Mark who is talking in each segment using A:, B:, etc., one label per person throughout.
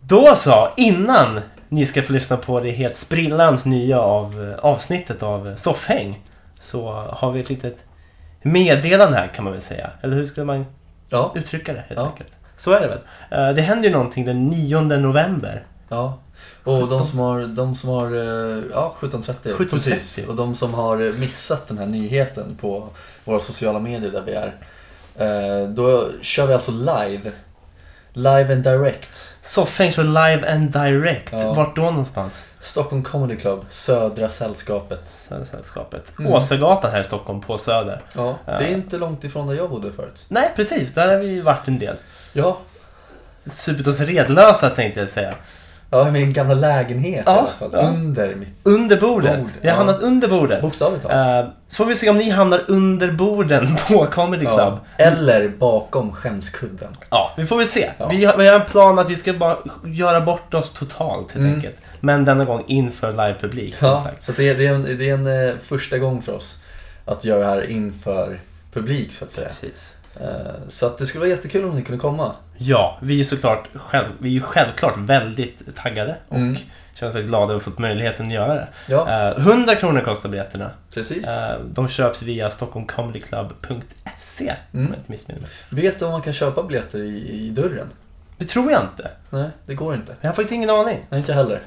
A: Då så, innan ni ska få lyssna på det helt sprillans nya av eh, avsnittet av Soffhäng så har vi ett litet meddelande här kan man väl säga. Eller hur skulle man
B: Ja.
A: uttrycka det helt
B: Ja.
A: enkelt? Så är det väl. Eh, Det händer ju någonting den 9 november.
B: ja. Och de som har, de som har eh, ja, 17.30,
A: 17.30.
B: precis. Och de som har missat den här nyheten på våra sociala medier där vi är. eh, Då kör vi alltså live. Live and direct.
A: Soffhäng så live and direct.
B: Ja.
A: Vart då någonstans?
B: Stockholm Comedy Club, Södra Sällskapet.
A: Södra Sällskapet.
B: Mm.
A: Åsagatan här i Stockholm på Söder.
B: Ja, det är inte långt ifrån där jag bodde förut.
A: Nej precis, där har vi ju varit en del.
B: Ja,
A: Supit oss redlösa tänkte jag säga.
B: ja min gamla lägenhet
A: Ja,
B: i alla fall.
A: ja.
B: Under mitt...
A: Under bordet.
B: Bord,
A: vi har
B: ja.
A: hamnat under bordet.
B: Bokstavligt talat.
A: Eh, så får vi se om ni hamnar under borden på Comedy Club. Ja,
B: Ja. Eller bakom skämskudden.
A: vi får väl se.
B: Ja.
A: Vi, har, vi har en plan att vi ska bara göra bort oss totalt helt
B: Mm.
A: enkelt. Men denna gång inför livepublik. som
B: Ja,
A: sagt.
B: så det är, det, är en, det är en eh, första gång för oss att göra det här inför publik så att säga.
A: Precis.
B: Eh, så att det skulle vara jättekul om ni kunde komma.
A: Ja, vi är ju såklart själv, vi är ju självklart väldigt taggade och
B: Mm.
A: känns väldigt glada över att ha fått möjligheten att göra det.
B: Ja,
A: Eh, 100 kronor kostar biljetterna.
B: precis.
A: Eh, de köps via stockholmcomedyclub.se om
B: Mm.
A: jag inte missminner mig.
B: Vet du om man kan köpa biljetter i, i dörren?
A: Det tror jag inte.
B: Nej, det går inte.
A: Jag har faktiskt ingen aning.
B: Nej, inte jag heller.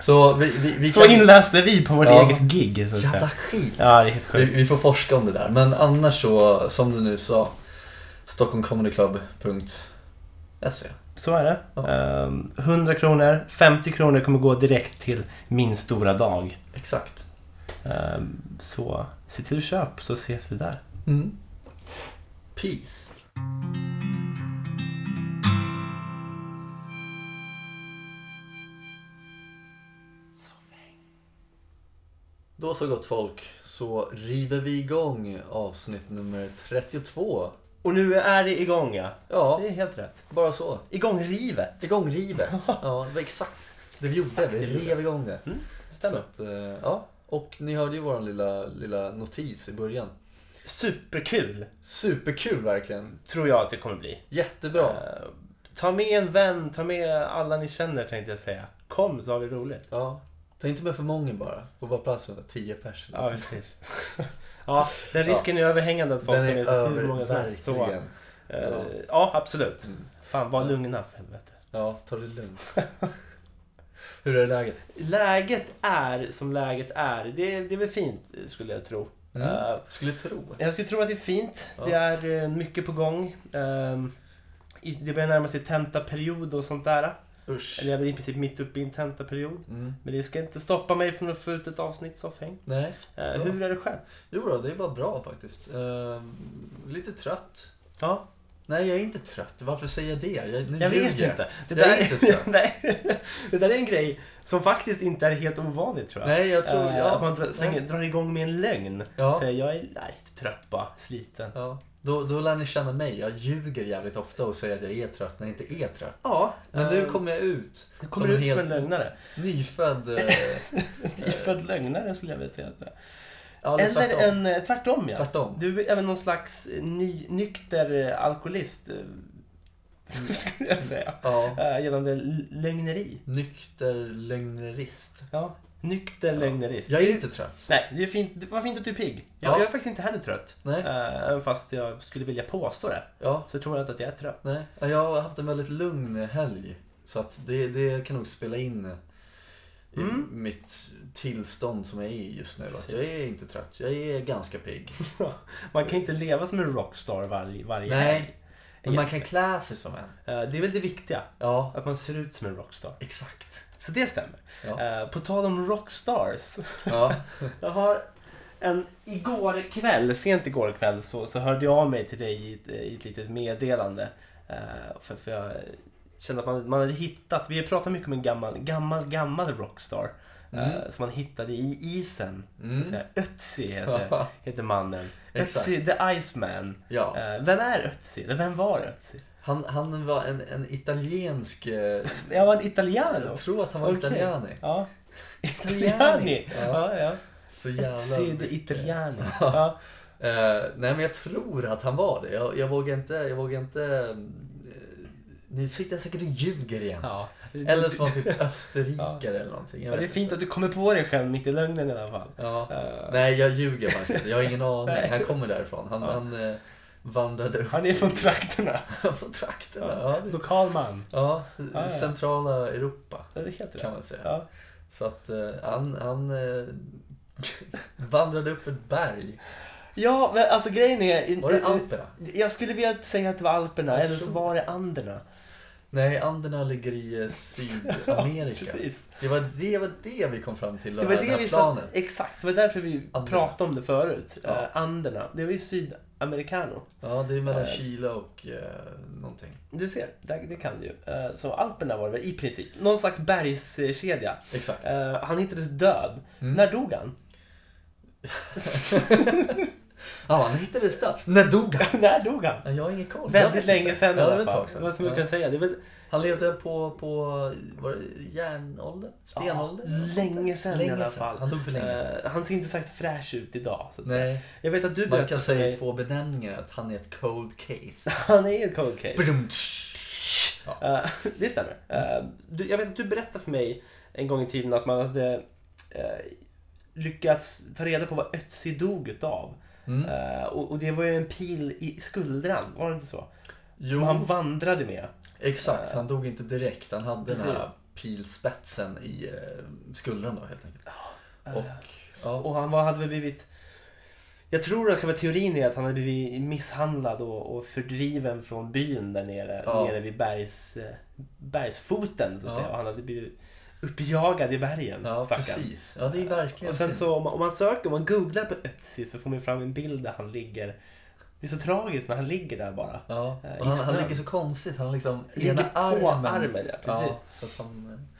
B: så vi, vi, vi
A: Så
B: kan...
A: inläste vi på vårt
B: Ja.
A: eget gig. Så att säga.
B: Jävla skit!
A: Ja, det är helt
B: Vi,
A: sjukt.
B: vi får forska om det där. Men annars så, som du nu sa, stockholmcomedyclub.se E.
A: Så är det.
B: Ja.
A: Ehm, 100 kronor, 50 kronor kommer gå direkt till min stora dag.
B: Exakt.
A: Ehm, så se till att köpa så ses vi där.
B: Mm. Peace. Då så gott folk, så river vi igång avsnitt nummer 32.
A: Och nu är det igång ja.
B: Ja,
A: Det är helt rätt.
B: bara så.
A: Igång rivet.
B: Igång rivet. Ja, det var exakt det vi gjorde. Vi rev igång det. Så
A: Stämmer.
B: att, eh, ja. Och ni hörde ju vår lilla, lilla notis i början.
A: Superkul
B: Superkul verkligen.
A: tror jag att det kommer bli.
B: Jättebra.
A: Ehm, ta med en vän, ta med alla ni känner tänkte jag säga. Kom så har vi roligt.
B: Ja. Ta inte med för många bara. Får bara plats för 10 personer.
A: Ja, precis. ja, den risken är överhängande att folk
B: Den
A: tar
B: är
A: med sig hur
B: över,
A: många som helst. Så,
B: verkligen.
A: eh, ja, absolut.
B: Mm.
A: Fan, var lugna för helvete.
B: Ja, ta det lugnt. Hur är läget?
A: Läget är som läget är. Det, det är väl fint skulle jag tro. Eh,
B: Mm. Skulle tro.
A: jag skulle tro att det är fint.
B: Ja.
A: Det är eh, mycket på gång. Eh, i- det börjar närma sig tentaperiod och sånt där.
B: Usch.
A: Eller jag är i princip mitt uppe i en tentaperiod.
B: Mm.
A: Men det ska inte stoppa mig från att få ut ett avsnitt soffhäng.
B: Nej.
A: Eh, Hur är det själv?
B: Jo då, det är bara bra faktiskt. Ehm, lite trött.
A: Ja,
B: Nej, jag är inte trött. Varför säger jag det? Jag, nu
A: jag vet
B: ljuger jag.
A: inte. Det
B: Jag
A: där,
B: är inte trött.
A: nej, det där är en grej som faktiskt inte är helt ovanligt tror jag.
B: Nej, jag tror...
A: Eh,
B: ja.
A: Att man drar, slänger, drar igång med en lögn.
B: Ja.
A: Säger jag är nej, lite trött bara, sliten.
B: Ja, då, då lär ni känna mig. Jag ljuger jävligt ofta och säger att jag är trött när jag inte är trött.
A: Ja,
B: Men nu
A: eh,
B: kommer jag ut
A: Du kommer ut som en lögnare.
B: nyfödd... eh,
A: Ifödd lögnare skulle jag vilja säga. att det är.
B: Ja, det är
A: Eller
B: tvärtom.
A: en eh, tvärtom ja.
B: Tvärtom.
A: Du är även någon slags eh, ny, nykter eh, alkoholist. eh, Skulle jag säga.
B: Ja,
A: Eh, Gällande l- lögneri.
B: nykter lögnerist.
A: Ja. Nykter lögnerist.
B: Jag är inte trött.
A: Nej, det är fint. Det var fint att du är pigg.
B: Ja.
A: Jag, jag är faktiskt inte heller trött.
B: Nej.
A: Eh, Även fast jag skulle vilja påstå det.
B: Ja,
A: Så tror jag inte att jag är trött.
B: nej. Ja, Jag har haft en väldigt lugn helg. Så att det, det kan nog spela in i
A: Mm.
B: mitt tillstånd som jag är i just nu. Att
A: Precis.
B: jag är inte trött. Jag är ganska pigg.
A: Man kan inte leva som en rockstar varje, varje helg.
B: Nej. Men man kan klä sig som en.
A: Eh, Det är väl det viktiga.
B: Ja,
A: Att man ser ut som en rockstar.
B: exakt.
A: Så det stämmer.
B: Ja.
A: Eh, på tal om rockstars.
B: Ja.
A: Jag har en igår kväll, sent igår kväll så, så hörde jag av mig till dig i, ett- i ett litet meddelande. Eh, för, för jag kände att man, man hade hittat, vi har pratat mycket om en gammal, gammal, gammal rockstar. eh, som man hittade i isen.
B: Mm.
A: Mm. Ötzi heter, heter mannen.
B: Exakt.
A: Ötzi the Iceman.
B: Ja.
A: Eh, vem är Ötzi? Eller vem var Ötzi?
B: Han, han var en, en italiensk... eh,
A: Jag var en italiano.
B: Jag tror att han var
A: Okej.
B: italiani.
A: Ja. Italiani. Ja, ja.
B: Så jävla...
A: Ötzi the Italiano. Ja.
B: Eh, nej men jag tror att han var det. Jag, jag vågar inte, jag vågar inte eh, Ni sitter säkert och ljuger igen.
A: Ja.
B: Eller så var han typ österrikare
A: Ja.
B: eller någonting. Jag
A: Ja, det är
B: vet
A: fint
B: inte.
A: att du kommer på dig själv mitt i lögnen i alla fall.
B: Ja.
A: Eh,
B: Nej, jag ljuger faktiskt inte. Jag har ingen aning.
A: Nej.
B: Han kommer därifrån. Han,
A: Ja.
B: han eh, vandrade upp
A: han är från trakterna.
B: från trakterna. Ja. det-
A: Lokal man.
B: Ja,
A: ja.
B: centrala Europa
A: Ja, det är helt rätt.
B: kan man säga.
A: Ja.
B: Så att eh, han, han eh, vandrade upp ett berg.
A: ja, men alltså grejen är...
B: Var det Alperna?
A: Jag skulle vilja säga att det var Alperna,
B: Jag
A: eller så
B: tror-
A: var det Anderna.
B: Nej, Anderna ligger i eh, Sydamerika.
A: Precis.
B: det, var det var det vi kom fram till,
A: Det var
B: den
A: det
B: här
A: vi sa,
B: planen.
A: exakt, det var därför vi
B: Anderna.
A: pratade om det förut.
B: Ja.
A: Eh, Anderna, det var ju Sydamericano.
B: Ja, det är mellan
A: Eh.
B: Chile och eh, någonting.
A: Du ser, det, det kan du ju. Eh, Så Alperna var det väl i princip. Någon slags bergskedja.
B: Exakt.
A: Eh, Han hittades död.
B: Mm.
A: När dog han?
B: Ja, han hittade det snabbt. När dog han?
A: När dog han?
B: Ja, Jag har ingen koll. Jag
A: Väldigt
B: vet
A: länge
B: inte.
A: sedan i
B: Ja, det var
A: alla
B: ett
A: fall.
B: tag sedan.
A: Vad ska man
B: Ja.
A: kunna säga? Det är väl
B: Han levde på, på var det järnålder? Stenålder?
A: Ja, länge sedan i
B: Länge
A: alla
B: sedan.
A: fall.
B: Han dog för länge sedan.
A: Eh, han ser inte sagt fräsch ut idag. Så att säga.
B: Nej,
A: Jag vet att du
B: man kan
A: berättade för
B: säga i
A: mig... Eh.
B: två benämningar att han är ett cold case.
A: Han är ett cold case.
B: Brum, ja.
A: Eh, det stämmer. Eh, du, jag vet att du berättade för mig en gång i tiden att man hade eh, lyckats ta reda på vad Ötzi dog utav.
B: Mm.
A: Eh, och, och det var ju en pil i skuldran, var det inte så? Som han
B: Jo,
A: vandrade med.
B: exakt. Han dog inte direkt. Han hade den här
A: Eh, Precis.
B: pilspetsen i eh, skuldran då helt enkelt. Och,
A: eh,
B: ja,
A: Och han var, hade väl blivit... Jag tror att själva teorin är att han hade blivit misshandlad och, och fördriven från byn där nere,
B: Ja.
A: nere vid bergs, eh, bergsfoten. Så att
B: Ja.
A: säga. Och han hade blivit uppjagad i bergen.
B: ja
A: stackarn.
B: precis. Ja, det är verkligen
A: Eh, Och sen
B: synd.
A: så om man, om man söker, om man googlar på Ötzi så får man ju fram en bild där han ligger. Det är så tragiskt när han ligger där bara.
B: Ja,
A: Eh,
B: och han,
A: i
B: han
A: snön.
B: ligger så konstigt. Han liksom
A: Ligger
B: ena
A: på
B: armen.
A: armen, ja, precis.
B: så att han eh,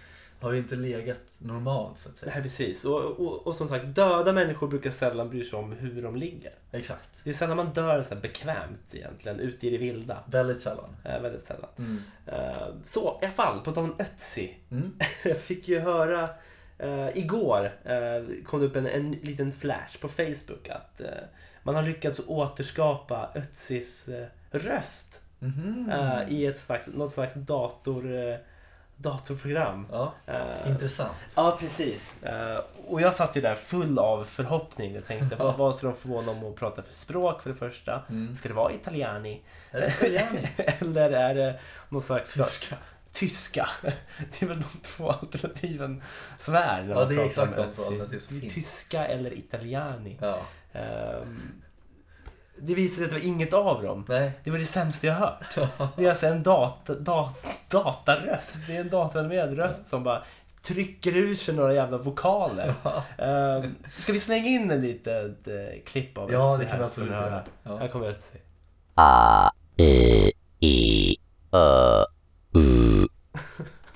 B: har ju inte legat normalt så att säga.
A: Nej precis. Och, och, och som sagt, döda människor brukar sällan bry sig om hur de ligger.
B: Exakt.
A: Det är sällan man dör så här bekvämt egentligen, ute i det vilda.
B: Väldigt sällan.
A: Eh, väldigt sällan.
B: Mm.
A: Eh, Så i alla fall, på tal om Ötzi.
B: Mm.
A: Jag fick ju höra eh, igår eh, kom det upp en, en liten flash på Facebook att eh, man har lyckats återskapa Ötzis eh, röst
B: Mhm.
A: eh, i ett slags, något slags dator, eh, datorprogram.
B: Ja,
A: Eh,
B: intressant.
A: Ja, precis. Eh, och jag satt ju där full av förhoppning och tänkte vad, vad ska de få honom att prata för språk för det första?
B: Mm.
A: Ska det vara italiani?
B: Är det Tajani?
A: Eller är det någon slags
B: Tyska.
A: tyska. Det är väl de två alternativen som är. när
B: Ja,
A: man
B: det är
A: pratar
B: exakt
A: om
B: de två
A: Ötzi.
B: alternativ som
A: Det är
B: finns.
A: Tyska eller italiani.
B: Ja.
A: Ehm, det visade sig att det var inget av dem.
B: Nej.
A: Det var det sämsta jag hört. Det är alltså en data, dat, dataröst. Det är en datoranimerad röst som bara trycker ur sig några jävla vokaler. Ehm, ska vi slänga in en litet eh, klipp av
B: Ja,
A: Ötzi
B: det kan vi
A: här så får ni
B: absolut
A: höra?
B: göra. Ja.
A: Här kommer Ötzi.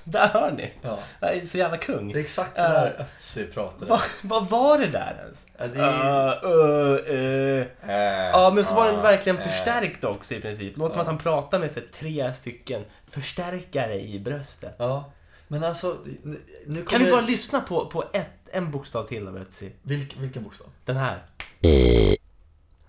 A: Där hör ni!
B: Ja.
A: Jag är så jävla kung.
B: Det är exakt
A: Eh,
B: så där Ötzi pratade.
A: Vad vad var det där ens?
B: Ja, det är...
A: Eh, eh, eh.
B: Äh,
A: Ja, men så var den
B: äh,
A: verkligen
B: äh.
A: förstärkt också i princip. Låter som
B: Ja.
A: att han pratar med sig tre stycken förstärkare i bröstet.
B: Ja. Men alltså, nu, nu
A: Kan
B: kommer...
A: vi bara lyssna på, på ett, en bokstav till av Ötzi?
B: Vilk, vilken bokstav?
A: Den här.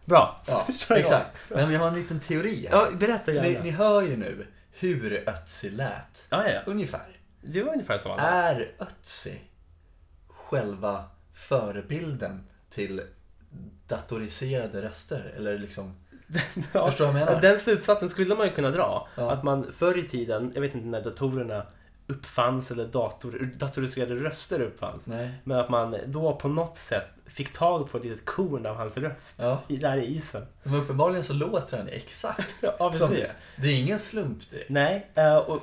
A: Bra.
B: Ja,
A: Kör igång.
B: exakt. Nej, men jag har en liten teori här.
A: Ja, berätta
B: För ni,
A: gärna.
B: ni hör ju nu hur Ötzi lät.
A: Ja, ja. ja.
B: Ungefär.
A: Det var ungefär så. han-
B: Är Ötzi själva förebilden till datoriserade röster? Eller liksom...
A: Ja.
B: Förstår du vad jag menar?
A: Den slutsatsen skulle man ju kunna dra.
B: Ja.
A: Att man förr i tiden, jag vet inte när datorerna uppfanns eller dator, datoriserade röster uppfanns.
B: Nej.
A: Men att man då på något sätt fick tag på ett litet korn av hans röst
B: Ja.
A: i, där i isen.
B: Men uppenbarligen så låter han exakt
A: Ja,
B: som
A: precis.
B: det. Det är ingen slump det.
A: Nej, eh, och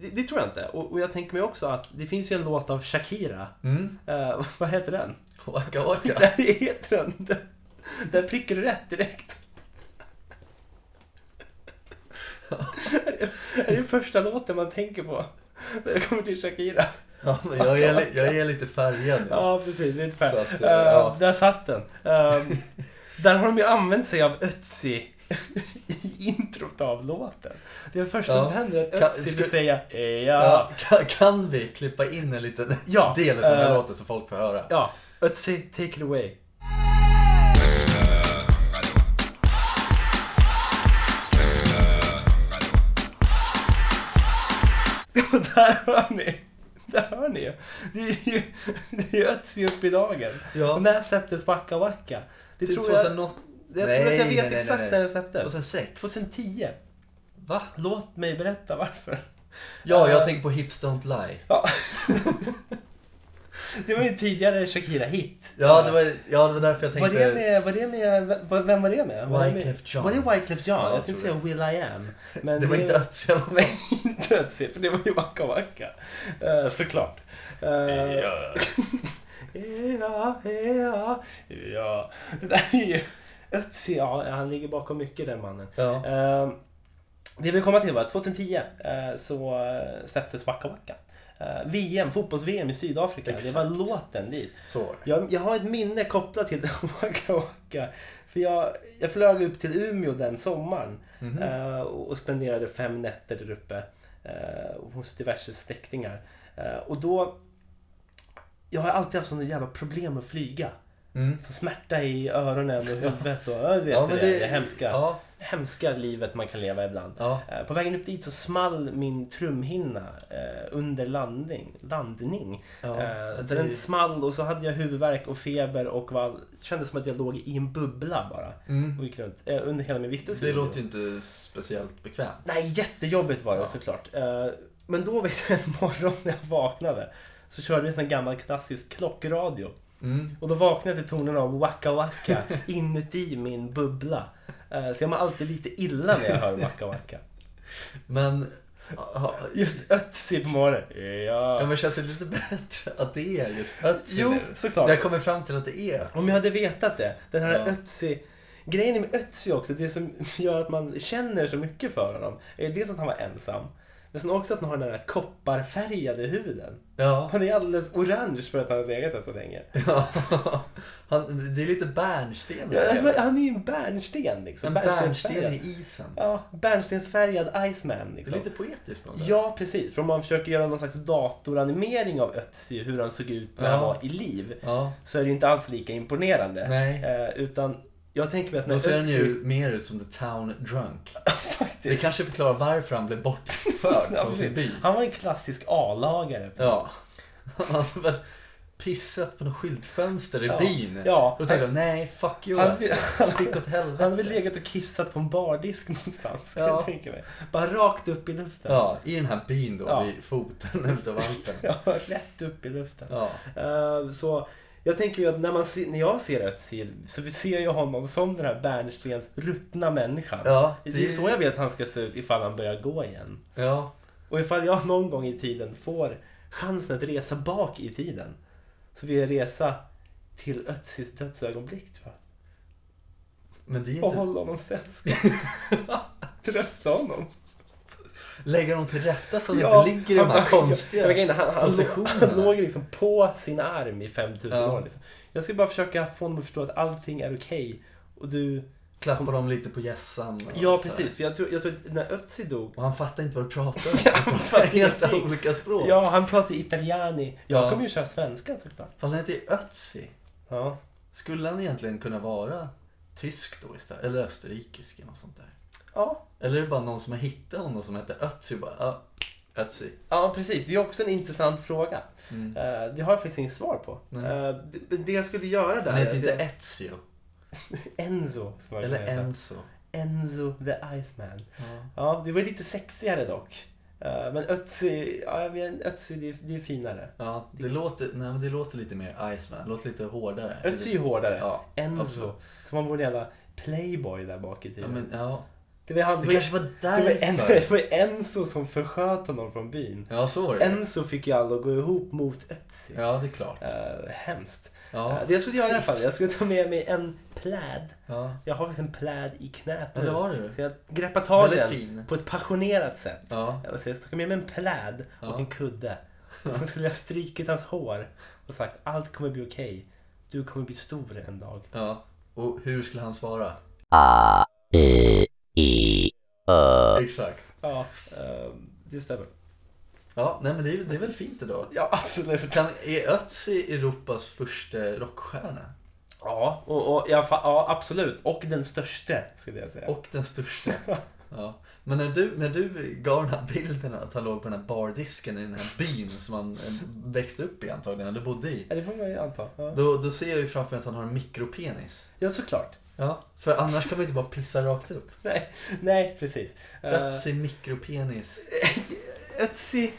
A: det, det tror jag inte. Och, och jag tänker mig också att det finns ju en låt av Shakira.
B: Mm.
A: Eh, vad heter den?
B: Waka waka.
A: Där heter den. Där- Där prickar du rätt direkt. det är ju första låten man tänker på när jag kommer till Shakira.
B: Ja, men jag, är, li- jag är lite färgad nu.
A: Ja, precis. Lite färg.
B: Så att,
A: Eh,
B: ja.
A: Där satt den. Ehm, där har de ju använt sig av Ötzi i introt av låten. Det är det första
B: Ja.
A: som händer är att
B: Kan-
A: Ötzi vill
B: skulle-
A: säga "Eh, ja.
B: Ja, kan, kan vi klippa in en liten
A: Ja,
B: del av den här
A: eh,
B: låten så folk får höra?
A: ja. Ötzi, take it away. Och där hör ni. Där hör ni ju. Det är ju, det göts ju upp i dagen. Och
B: Ja,
A: när släpptes Backa Backa? Det
B: typ
A: tror jag,
B: 2000 något.
A: jag
B: Nej,
A: tror att jag
B: nej,
A: vet
B: nej, nej,
A: exakt
B: nej.
A: när det släpptes.
B: 2006.
A: 2010.
B: Va?
A: Låt mig berätta varför.
B: Ja, jag
A: Eh,
B: tänker på Hips Don't Lie.
A: Ja. det var ju en tidigare Shakira-hit.
B: Ja, det var, ja, det var därför jag
A: Var
B: tänkte...
A: det med, var det med, v- vem var det med? Var det med-
B: Wyclef Jean.
A: Var det Wyclef Jean?
B: Ja, jag
A: jag tänkte säga
B: tror
A: Will I Am. Men
B: det var inte Ötzi i alla fall.
A: Nej, inte Ötzi, för det var ju Waka Waka. Eh, såklart. Eh, ja, ja, ja. Det där är ju... Ötzi, ja, han ligger bakom mycket den mannen.
B: Ja.
A: Eh, det vi komma till var att 2010 eh, så eh, släpptes Waka Waka. Eh, VM, fotbolls-VM i Sydafrika. Det var låten dit.
B: Så var det.
A: Jag, jag har ett minne kopplat till Waka Waka. För jag, jag flög upp till Umeå den sommaren
B: Mhm.
A: eh, och och spenderade fem nätter där uppe eh, hos diverse släktingar. Eh, och då... Jag har alltid haft sådana jävla problem att flyga.
B: Mm.
A: Så smärta i öronen och huvudet och ja, du vet
B: Ja,
A: hur
B: men
A: det, det,
B: det-
A: det hemska,
B: ja.
A: hemska livet man kan leva ibland.
B: Ja.
A: Eh, På vägen upp dit så small min trumhinna eh, under landning. landning.
B: Ja, alltså
A: eh,
B: det
A: så
B: är
A: den
B: ju-
A: small och så hade jag huvudvärk och feber och var, kändes som att jag låg i en bubbla bara.
B: Mm.
A: Och gick runt, eh, under hela min vistelse. i
B: Det
A: Umeå.
B: låter ju inte speciellt bekvämt.
A: Nej, jättejobbigt var det
B: Ja.
A: såklart. Eh, Men då vet jag en morgon när jag vaknade så körde vi en sån här gammal klassisk klockradio.
B: Mm.
A: Och då vaknade jag till tonerna av Waka Waka inuti min bubbla. Eh, Så jag mår alltid lite illa när jag hör Waka Waka.
B: Men... Ja,
A: Just Ötzi på morgonen. Ja.
B: ja, men känns det lite bättre att det är just Ötzi
A: Jo,
B: nu?
A: såklart.
B: Jag kommer fram till att det är Ötzi.
A: Om jag hade vetat det. Den här
B: Ja.
A: Ötzi... Grejen med Ötzi också, det som gör att man känner så mycket för honom, är dels att han var ensam, men sen också att han har den här kopparfärgade huden.
B: Ja.
A: Han är alldeles orange för att han har legat där så länge.
B: ja. Han, det är lite bärnsten.
A: Ja,
B: över det.
A: men han är ju en bärnsten liksom.
B: en
A: Bärnstensfärgad.
B: bärnsten i isen.
A: Ja, bärnstensfärgad Iceman
B: Det
A: liksom.
B: är lite poetiskt på något sätt.
A: Ja, precis. För om man försöker göra någon slags datoranimering av Ötzi, hur han såg ut när han
B: Ja.
A: var i liv,
B: ja.
A: så är det ju inte alls lika imponerande.
B: Nej.
A: Eh, utan jag tänker mig att när
B: Då ser den
A: Ötzi...
B: ju mer ut som The Town Drunk. Det
A: faktiskt...
B: kanske förklarar varför han blev bortförd
A: Ja,
B: från sin by.
A: precis. Han var en klassisk A-lagare.
B: Ja. Han hade väl pissat på något skyltfönster i
A: Ja.
B: byn.
A: Ja.
B: Då tänkte jag, nej fuck you
A: Han-
B: alltså. Stick åt helvete.
A: Han hade väl legat och kissat på en bardisk någonstans, kan
B: Ja.
A: jag tänka mig. Bara rakt upp i luften.
B: Ja, i den här byn då,
A: Ja.
B: vid foten utav valpen.
A: Ja, rätt upp i luften.
B: Ja.
A: Eh, så jag tänker ju att när, man ser, när jag ser Özil så vi ser jag honom som den här Bernstens ruttna människan.
B: Ja,
A: det...
B: det-
A: är så jag vet att han ska se ut ifall han börjar gå igen.
B: ja.
A: Och ifall jag någon gång i tiden får chansen att resa bak i tiden så vill jag resa till Özils dödsögonblick tror jag.
B: Men det är
A: Och
B: inte...
A: hålla honom sällskap. Trösta honom.
B: Lägga dem till rätta så de
A: Ja,
B: inte ligger i de
A: han-
B: här konstiga...
A: jag- jag vet inte, han, han, låg- han
B: positionerna.
A: låg liksom på sin arm i 5000
B: Ja.
A: år. Liksom. Jag ska bara försöka få honom att förstå att allting är okej. Och du...
B: Klappa dem lite på hjässan. och
A: Ja,
B: så här.
A: precis. För jag tror, jag tror att när Ötzi dog...
B: Och han fattar inte vad du pratar om. Han pratar
A: fattar
B: helt
A: ingenting.
B: olika språk.
A: Ja, han pratar italiani. Jag
B: Ja.
A: kommer ju köra svenska såklart.
B: Fast han heter Ötzi.
A: Ja.
B: Skulle han egentligen kunna vara tysk då istället? Eller österrikisk eller något sånt där?
A: Ja.
B: Eller är det bara någon som har hittat honom som heter Ötzi och bara, ja, Ötzi.
A: ja, precis. Det är också en intressant fråga.
B: Mm.
A: Eh, Det har jag faktiskt inget svar på.
B: Nej.
A: Eh, det- Det jag skulle göra där...
B: Han heter
A: är att
B: inte
A: jag-
B: Ezio.
A: Enzo. som han
B: Eller
A: kan heta.
B: Enzo.
A: Enzo the Iceman.
B: Ja.
A: Ja, det var ju lite sexigare dock. Eh, Men Ötzi, ja, jag vet, Ötzi det, är, det är finare.
B: Ja, det låter, nej, men det låter lite mer Iceman. Det låter lite hårdare.
A: Ötzi är ju hårdare.
B: Ja,
A: Enzo.
B: absolut.
A: Som han vore en jävla playboy där bak i
B: Ja,
A: tiden.
B: men, ja.
A: det var han,
B: Det kanske var
A: det var, en,
B: därför.
A: det var Enzo som försköt honom från byn.
B: Ja, så var det.
A: Enzo fick ju alla att gå ihop mot Ötzi.
B: Ja, det är klart.
A: Eh, hemskt.
B: Ja,
A: Eh, det jag skulle göra i alla fall, jag skulle ta med mig en pläd.
B: ja.
A: Jag har faktiskt en pläd i knät
B: ja det har du.
A: Så jag greppar tag i
B: Väldigt
A: den
B: fin.
A: på ett passionerat sätt.
B: Ja.
A: Jag skulle ta med mig en pläd och
B: Ja.
A: en kudde. Och sen skulle jag strykit hans hår och sagt allt kommer bli okej. Du kommer bli stor en dag.
B: Ja, och hur skulle han svara? Exakt.
A: Ja, ehm, det stämmer.
B: Ja, nej men det är, det är väl fint idag.
A: Ja, absolut.
B: Kan, är Ötzi Europas första rockstjärna?
A: Ja, och, och, i alla fall, ja absolut. Och den största skulle jag säga.
B: Och den största? Ja. Men när du, när du gav den här bilden att han låg på den här bardisken i den här byn som han eh, växte upp i antagligen, eller bodde i.
A: Ja, det får man ju anta. Ja,
B: Då, då ser jag ju framför mig att han har en mikropenis.
A: ja såklart.
B: Ja, för annars kan man inte bara pissa rakt upp.
A: Nej, nej precis. Eh,
B: Ötzi mikropenis.
A: Ötzi...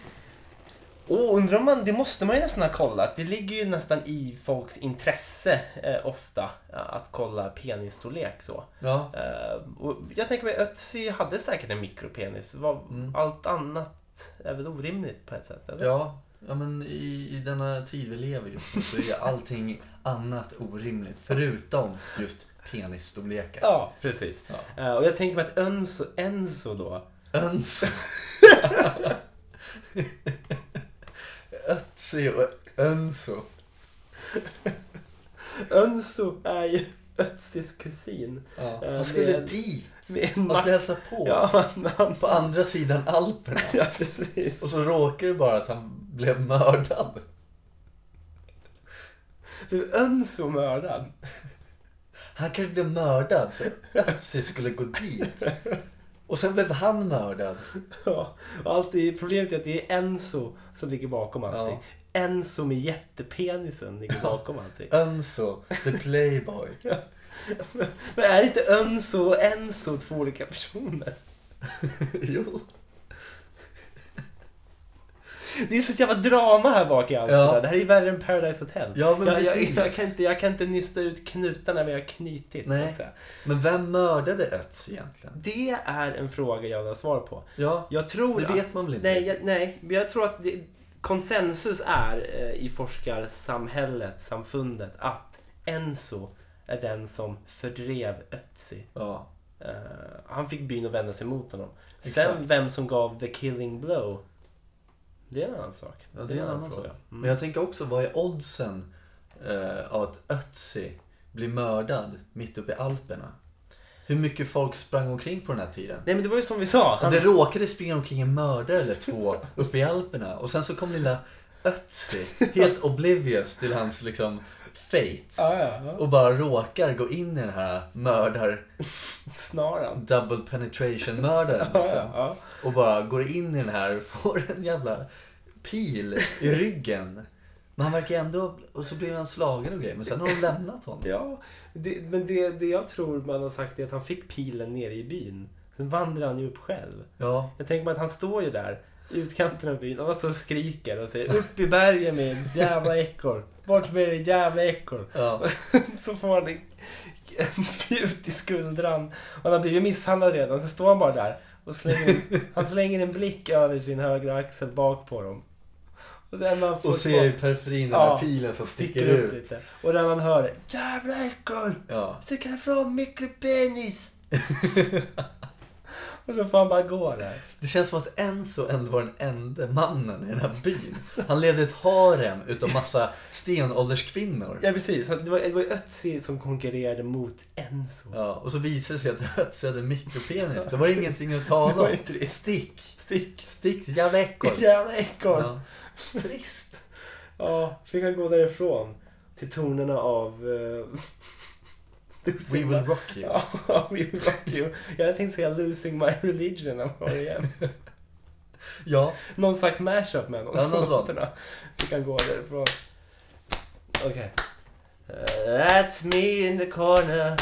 A: Och undrar om man, det måste man ju nästan ha kollat. Det ligger ju nästan i folks intresse eh, ofta eh, att kolla penisstorlek så.
B: Ja,
A: Eh, och jag tänker mig Ötzi hade säkert en mikropenis. Vad-
B: Mm.
A: Allt annat är väl orimligt på ett sätt? Eller?
B: ja. Ja men i, i denna tid vi lever just nu så är ju allting annat orimligt. Förutom just penisstorlekar.
A: Ja, precis.
B: Ja.
A: Eh, och jag tänker mig att Enzo, Enzo då.
B: Öns... Ötzi och Önso.
A: Enzo är ju Ötzis kusin.
B: Ja.
A: Eh,
B: Han skulle
A: med-
B: dit.
A: Med en
B: Han
A: mack.
B: skulle hälsa på.
A: Ja, men han...
B: På andra sidan Alperna.
A: Ja, precis.
B: Och så råkar det bara att han blev mördad.
A: Blev Enzo mördad?
B: Han kanske blev mördad så Ötzi skulle gå dit. Och sen blev han mördad.
A: Ja, och allt det, problemet är att det är Enzo som ligger bakom allting. Enzo med jättepenisen ligger bakom allting.
B: Önso, the playboy.
A: Men är inte Enzo och Enzo två olika personer?
B: jo.
A: Det är så ett jävla drama här bak i allt
B: Ja.
A: det där. Det här är ju värre än Paradise Hotel.
B: Ja, men
A: jag, jag,
B: precis.
A: jag, kan inte, jag kan inte nysta ut knutarna vi har knutit. Så
B: Nej.
A: att säga.
B: Men vem mördade Ötzi egentligen?
A: Det är en fråga jag vill ha svar på.
B: Ja,
A: Jag tror
B: det
A: att-
B: vet man väl inte?
A: Nej, jag, nej, men jag tror att det, konsensus är eh, i forskarsamhället, samfundet, att Enzo är den som fördrev Ötzi.
B: Ja,
A: Eh, han fick byn att vända sig mot honom. Sen
B: Exakt.
A: vem som gav the killing blow, det är en annan sak.
B: ja, det är en annan sak.
A: Mm.
B: Men jag tänker också, vad är oddsen eh, av att Ötzi blir mördad mitt uppe i Alperna? Hur mycket folk sprang omkring på den här tiden?
A: Nej men det var ju som vi sa.
B: Ja,
A: Han,
B: det råkade springa omkring en mördare eller två uppe i Alperna och sen så kom lilla Ötzi helt oblivious till hans liksom fate
A: ja, ja, ja.
B: och bara råkar gå in i den här mördar
A: Snaran.
B: double penetration mördaren
A: Ja,
B: liksom.
A: ja, ja.
B: Och bara går in i den här och får en jävla pil i ryggen. Men han verkar ändå, och så blev han slagen och grejer men sen har de lämnat honom.
A: ja det, men det, det jag tror man har sagt är att han fick pilen nere i byn. Sen vandrar han ju upp själv.
B: Ja,
A: Jag tänker mig att han står ju där i utkanten av byn och så skriker och säger upp i bergen med en jävla ekorre. Bort med det jävla ekorre.
B: ja,
A: Så får han en, en spjut i skuldran. Och han har blivit misshandlad redan. Så står han bara där och slänger, han slänger en blick över sin högra axel bak på dem. Och den man får
B: och ser i periferin den
A: Ja.
B: här pilen som sticker ut.
A: lite. Och där man hör Jävla ekorre!
B: Ja,
A: Sticka ifrån mikropenis! och så får han bara gå där.
B: Det känns som att Enzo ändå var den enda mannen i den här byn. Han levde i ett harem utav massa stenålderskvinnor.
A: Ja precis, det var, det var ju Ötzi som konkurrerade mot Enzo.
B: Ja, och så visade det sig att Ötzi hade mikropenis. Det var ingenting att tala
A: var
B: om.
A: ju trist.
B: Stick!
A: Stick!
B: Stick ditt jävla ekorre!
A: Jävla ekorre! Ja.
B: Ja. Trist!
A: fick han gå därifrån till tonerna av... Uh,
B: We will rock you.
A: Ja, We Will Rock You. Jag hade tänkt säga Losing My Religion när man var igen.
B: Ja,
A: Någon slags mashup med någon
B: Ja, någon sån.
A: låtarna. Fick han gå därifrån. Okej. Uh, that's me in the corner.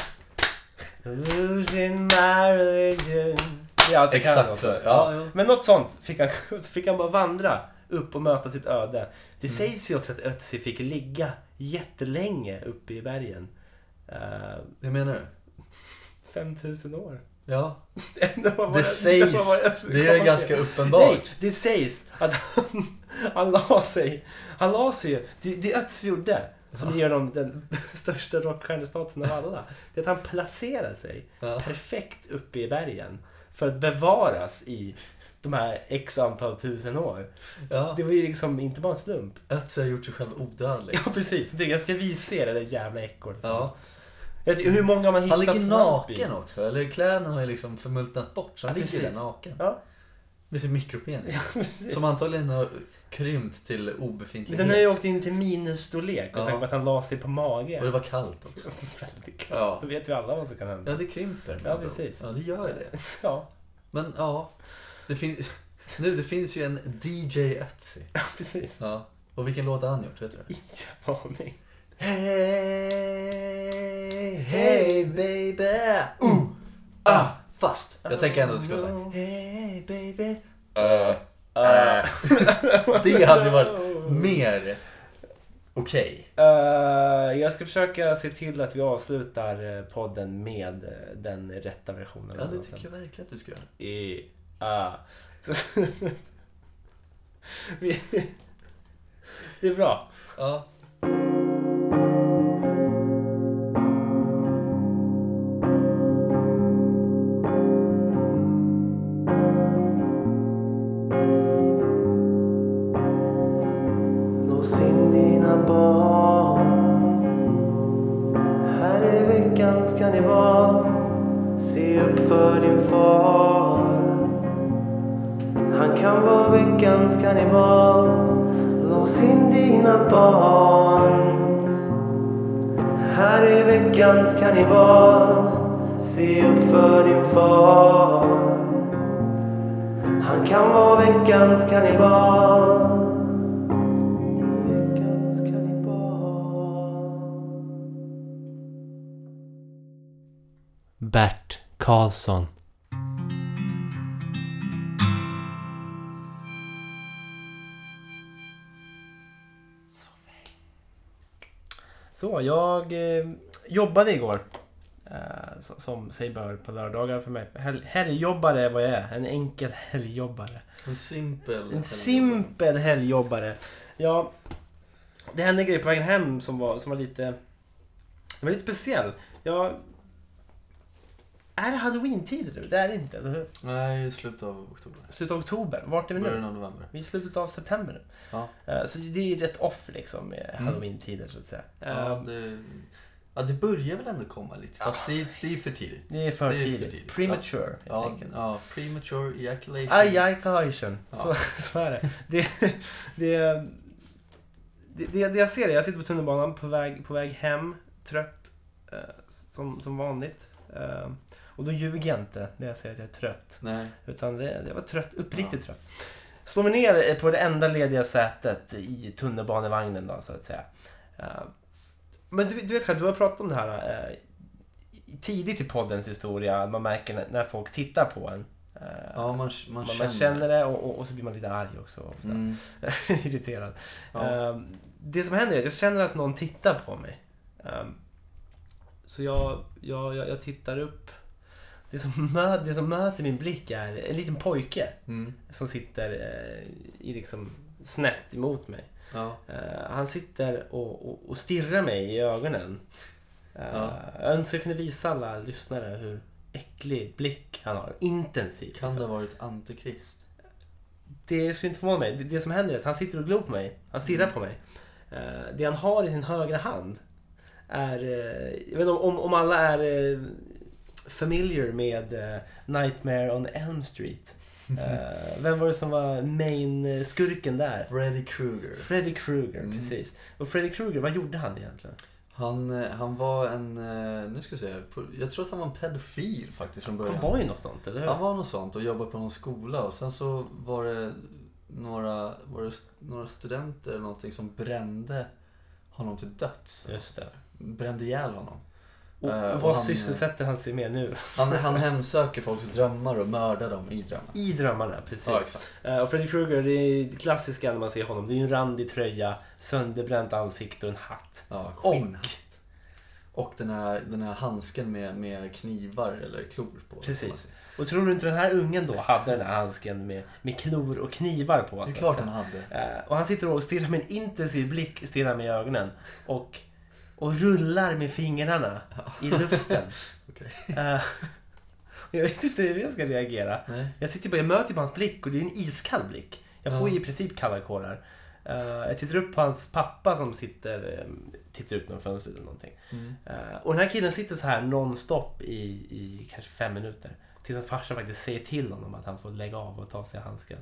A: Losing my religion. Det är allt jag kan
B: exakt
A: också.
B: så. Ja, jo.
A: Men något sånt fick han, så fick han bara vandra upp och möta sitt öde. Det
B: Mm.
A: sägs ju också att Ötzi fick ligga jättelänge uppe i bergen. Uh,
B: Det menar du?
A: 5000 år.
B: Ja.
A: Ändå var
B: Det sägs.
A: ändå var Ötzi
B: Det är
A: kom
B: ju ganska
A: Nej,
B: uppenbart.
A: det sägs att han, han la sig. Han la sig ju. Det, det Ötzi gjorde, som ger honom den största rockstjärnestatusen av alla, det är att han placerar sig
B: Ja.
A: perfekt uppe i bergen för att bevaras i de här x antal tusen år.
B: Ja.
A: Det var ju liksom inte bara en slump.
B: Ötzi har gjort sig själv odödlig.
A: Ja, precis. Det, jag ska visa er det där jävla ekorret.
B: Ja.
A: Jag vet- Hur många har man hittat
B: Han ligger
A: från hans by?
B: naken också. Eller kläderna har ju liksom förmultnat bort. Så han
A: Ja,
B: ligger där
A: precis.
B: naken.
A: Ja,
B: Med sin mikropenis.
A: precis.
B: Som antagligen har krympt till obefintlighet.
A: Den har ju åkt in till minusstorlek med
B: Ja.
A: tanke på att han la sig på mage.
B: Och det var kallt också.
A: Väldigt kallt.
B: Ja.
A: Då vet vi alla vad som kan
B: Ja,
A: hända.
B: det krymper.
A: Ja, precis.
B: Ja, det gör ju det.
A: Ja.
B: Men ja, det, fin- nu, det finns ju en DJ Ötzi.
A: Ja, precis.
B: Ja. Och vilken låt har han gjort? Vet du?
A: Ingen aning.
B: Hey, hey baby. Ooh, ah. Fast jag tänker ändå att du ska säga Hey baby. Uh,
A: Eh.
B: Det hade ju varit mer okej.
A: Eh, jag ska försöka se till att vi avslutar eh, podden med eh, den rätta versionen.
B: Ja,
A: av
B: det
A: låten.
B: tycker jag verkligen att du ska göra.
A: I, ah. Så, vi, det är bra.
B: Ja.
A: Lås in dina barn Här är veckans karneval Se upp för din far Han kan vara veckans karneval Lås in dina barn Här är veckans karneval Se upp för din far Han kan vara veckans karneval Veckans Bert Karlsson. Så, jag eh, jobbade igår. Eh, so- som sig bör på lördagar för mig. Hel- helgjobbare är vad jag är. En enkel helgjobbare.
B: En simpel.
A: En simpel helgjobbare. Ja, det hände en grej på vägen hem som var, som var lite... Den var lite speciell. Jag... Är det halloween-tid nu? Det är det inte, eller
B: Mm-hmm.
A: hur?
B: Nej, i slutet av oktober.
A: Slutet av oktober. Vart är vi nu?
B: Början av november.
A: Vi är i slutet av september nu.
B: Mm. Ja. Mm.
A: Eh, Så det är ju rätt off liksom med halloween-tider så att säga.
B: Ja,
A: Eh,
B: det, ja, det börjar väl ändå komma lite. Fast det, det är för tidigt.
A: Det är för
B: det är för
A: tidigt.
B: tidigt.
A: Premature, helt
B: Ja,
A: enkelt.
B: ja, premature ejaculation.
A: Aj, aj, Kajsen.
B: Ja.
A: Så, så är det. Det, det, det, det, det jag ser är, jag sitter på tunnelbanan på väg, på väg hem, trött eh, som, som vanligt. Eh, och då ljuger jag inte när jag säger att jag är trött.
B: Nej.
A: Utan det, jag var trött, uppriktigt trött. Slår mig ner eh, på det enda lediga sätet i tunnelbanevagnen då, så att säga. Eh, Men du, du vet själv, du har pratat om det här eh, i- tidigt i poddens historia. Man märker när- när folk tittar på en. eh,
B: Ja, man, man,
A: man,
B: känner.
A: man känner det och, och, och så blir man lite arg också. Ofta.
B: Mm.
A: Irriterad.
B: Ja.
A: Ehm, det som händer är att jag känner att någon tittar på mig. Ehm, så jag, jag, jag, jag tittar upp. Det som, mö, det som möter min blick är en liten pojke
B: Mm.
A: som sitter eh, i liksom snett emot mig.
B: Ja.
A: Eh, han sitter och, och, och stirrar mig i ögonen. Eh,
B: Ja.
A: Jag önskar jag kunde visa alla lyssnare hur äcklig blick han har. Intensiv.
B: Kan det ha varit antikrist?
A: Det skulle inte förvåna mig. Det, det som händer är att han sitter och glor på mig. Han stirrar
B: Mm.
A: på mig. Eh, det han har i sin högra hand är... eh, jag vet inte om, om, om alla är eh, familiar med eh, Nightmare on Elm Street. Eh, vem var det som var main-skurken där?
B: Freddy Krueger.
A: Freddy Krueger,
B: Mm.
A: precis. Och Freddy Krueger, vad gjorde han egentligen?
B: Han, eh, han var en, eh, nu ska jag säga, po- jag tror att han var en pedofil faktiskt från början.
A: Han var ju något sånt, eller hur?
B: Han var något sånt och jobbade på någon skola och sen så var det några, var det st- några studenter eller någonting som brände honom till döds.
A: Just det.
B: Brände ihjäl honom.
A: Och,
B: Eh,
A: och
B: och
A: vad
B: han-
A: sysselsätter han sig med nu?
B: Han, han hemsöker folks drömmar och mördar dem i drömmar.
A: I drömmarna, precis.
B: Ja, exakt.
A: Eh, Och Freddy Krueger, det är det klassiska när man ser honom. Det är ju en randig tröja, sönderbränt ansikte och en hatt.
B: Ja,
A: Och-
B: skinnhatt. Och den här, den här handsken med, med knivar eller klor på.
A: Precis. Och tror du inte den här ungen då hade den här handsken med, med klor och knivar på?
B: Det är
A: så att
B: klart
A: säga?
B: han hade.
A: Eh, Och han sitter och stirrar med en intensiv blick, stirrar mig i ögonen. Och, och rullar med fingrarna i luften.
B: Okej.
A: Eh, Jag vet inte hur jag ska reagera.
B: Nej.
A: Jag sitter bara, jag möter på hans blick och det är en iskall blick. Jag får
B: Ja.
A: ju i princip kalla kårar. Eh, jag tittar upp på hans pappa som sitter, eh, tittar ut genom fönstret eller någonting.
B: Mm.
A: Eh, och den här killen sitter så här nonstop i, i kanske fem minuter. Tills hans farsa faktiskt säger till honom att han får lägga av och ta av sig handsken.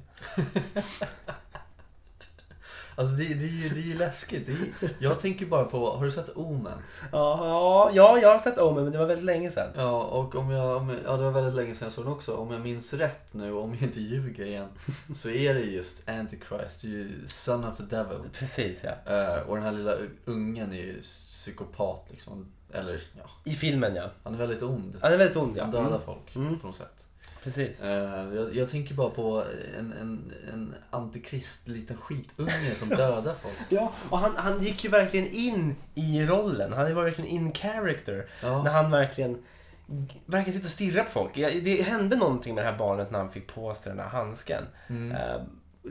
B: Alltså det, det, är ju, det är ju läskigt. Det är, ju- jag tänker bara på, har du sett Omen?
A: Ja, ja, ja, jag har sett Omen men det var väldigt länge sedan.
B: Ja, och om jag, om jag, ja, det var väldigt länge sedan jag såg den också. Om jag minns rätt nu, om jag inte ljuger igen, så är det just Antichrist, det är ju Son of the Devil.
A: Precis ja.
B: Eh, och den här lilla ungen är ju psykopat liksom. Eller ja,
A: I filmen ja.
B: han är väldigt ond.
A: Han är väldigt ond ja.
B: Han dödar
A: Mm,
B: folk
A: Mm.
B: på något sätt.
A: precis.
B: Eh, jag, jag tänker bara på en, en, en antikrist liten skitunge som dödar folk.
A: Ja, och han, han gick ju verkligen in i rollen. Han var verkligen in character.
B: Ja.
A: När han verkligen verkligen sitter och stirrar på folk. Ja, Det hände någonting med det här barnet när han fick på sig den här handsken.
B: Mm.
A: Eh,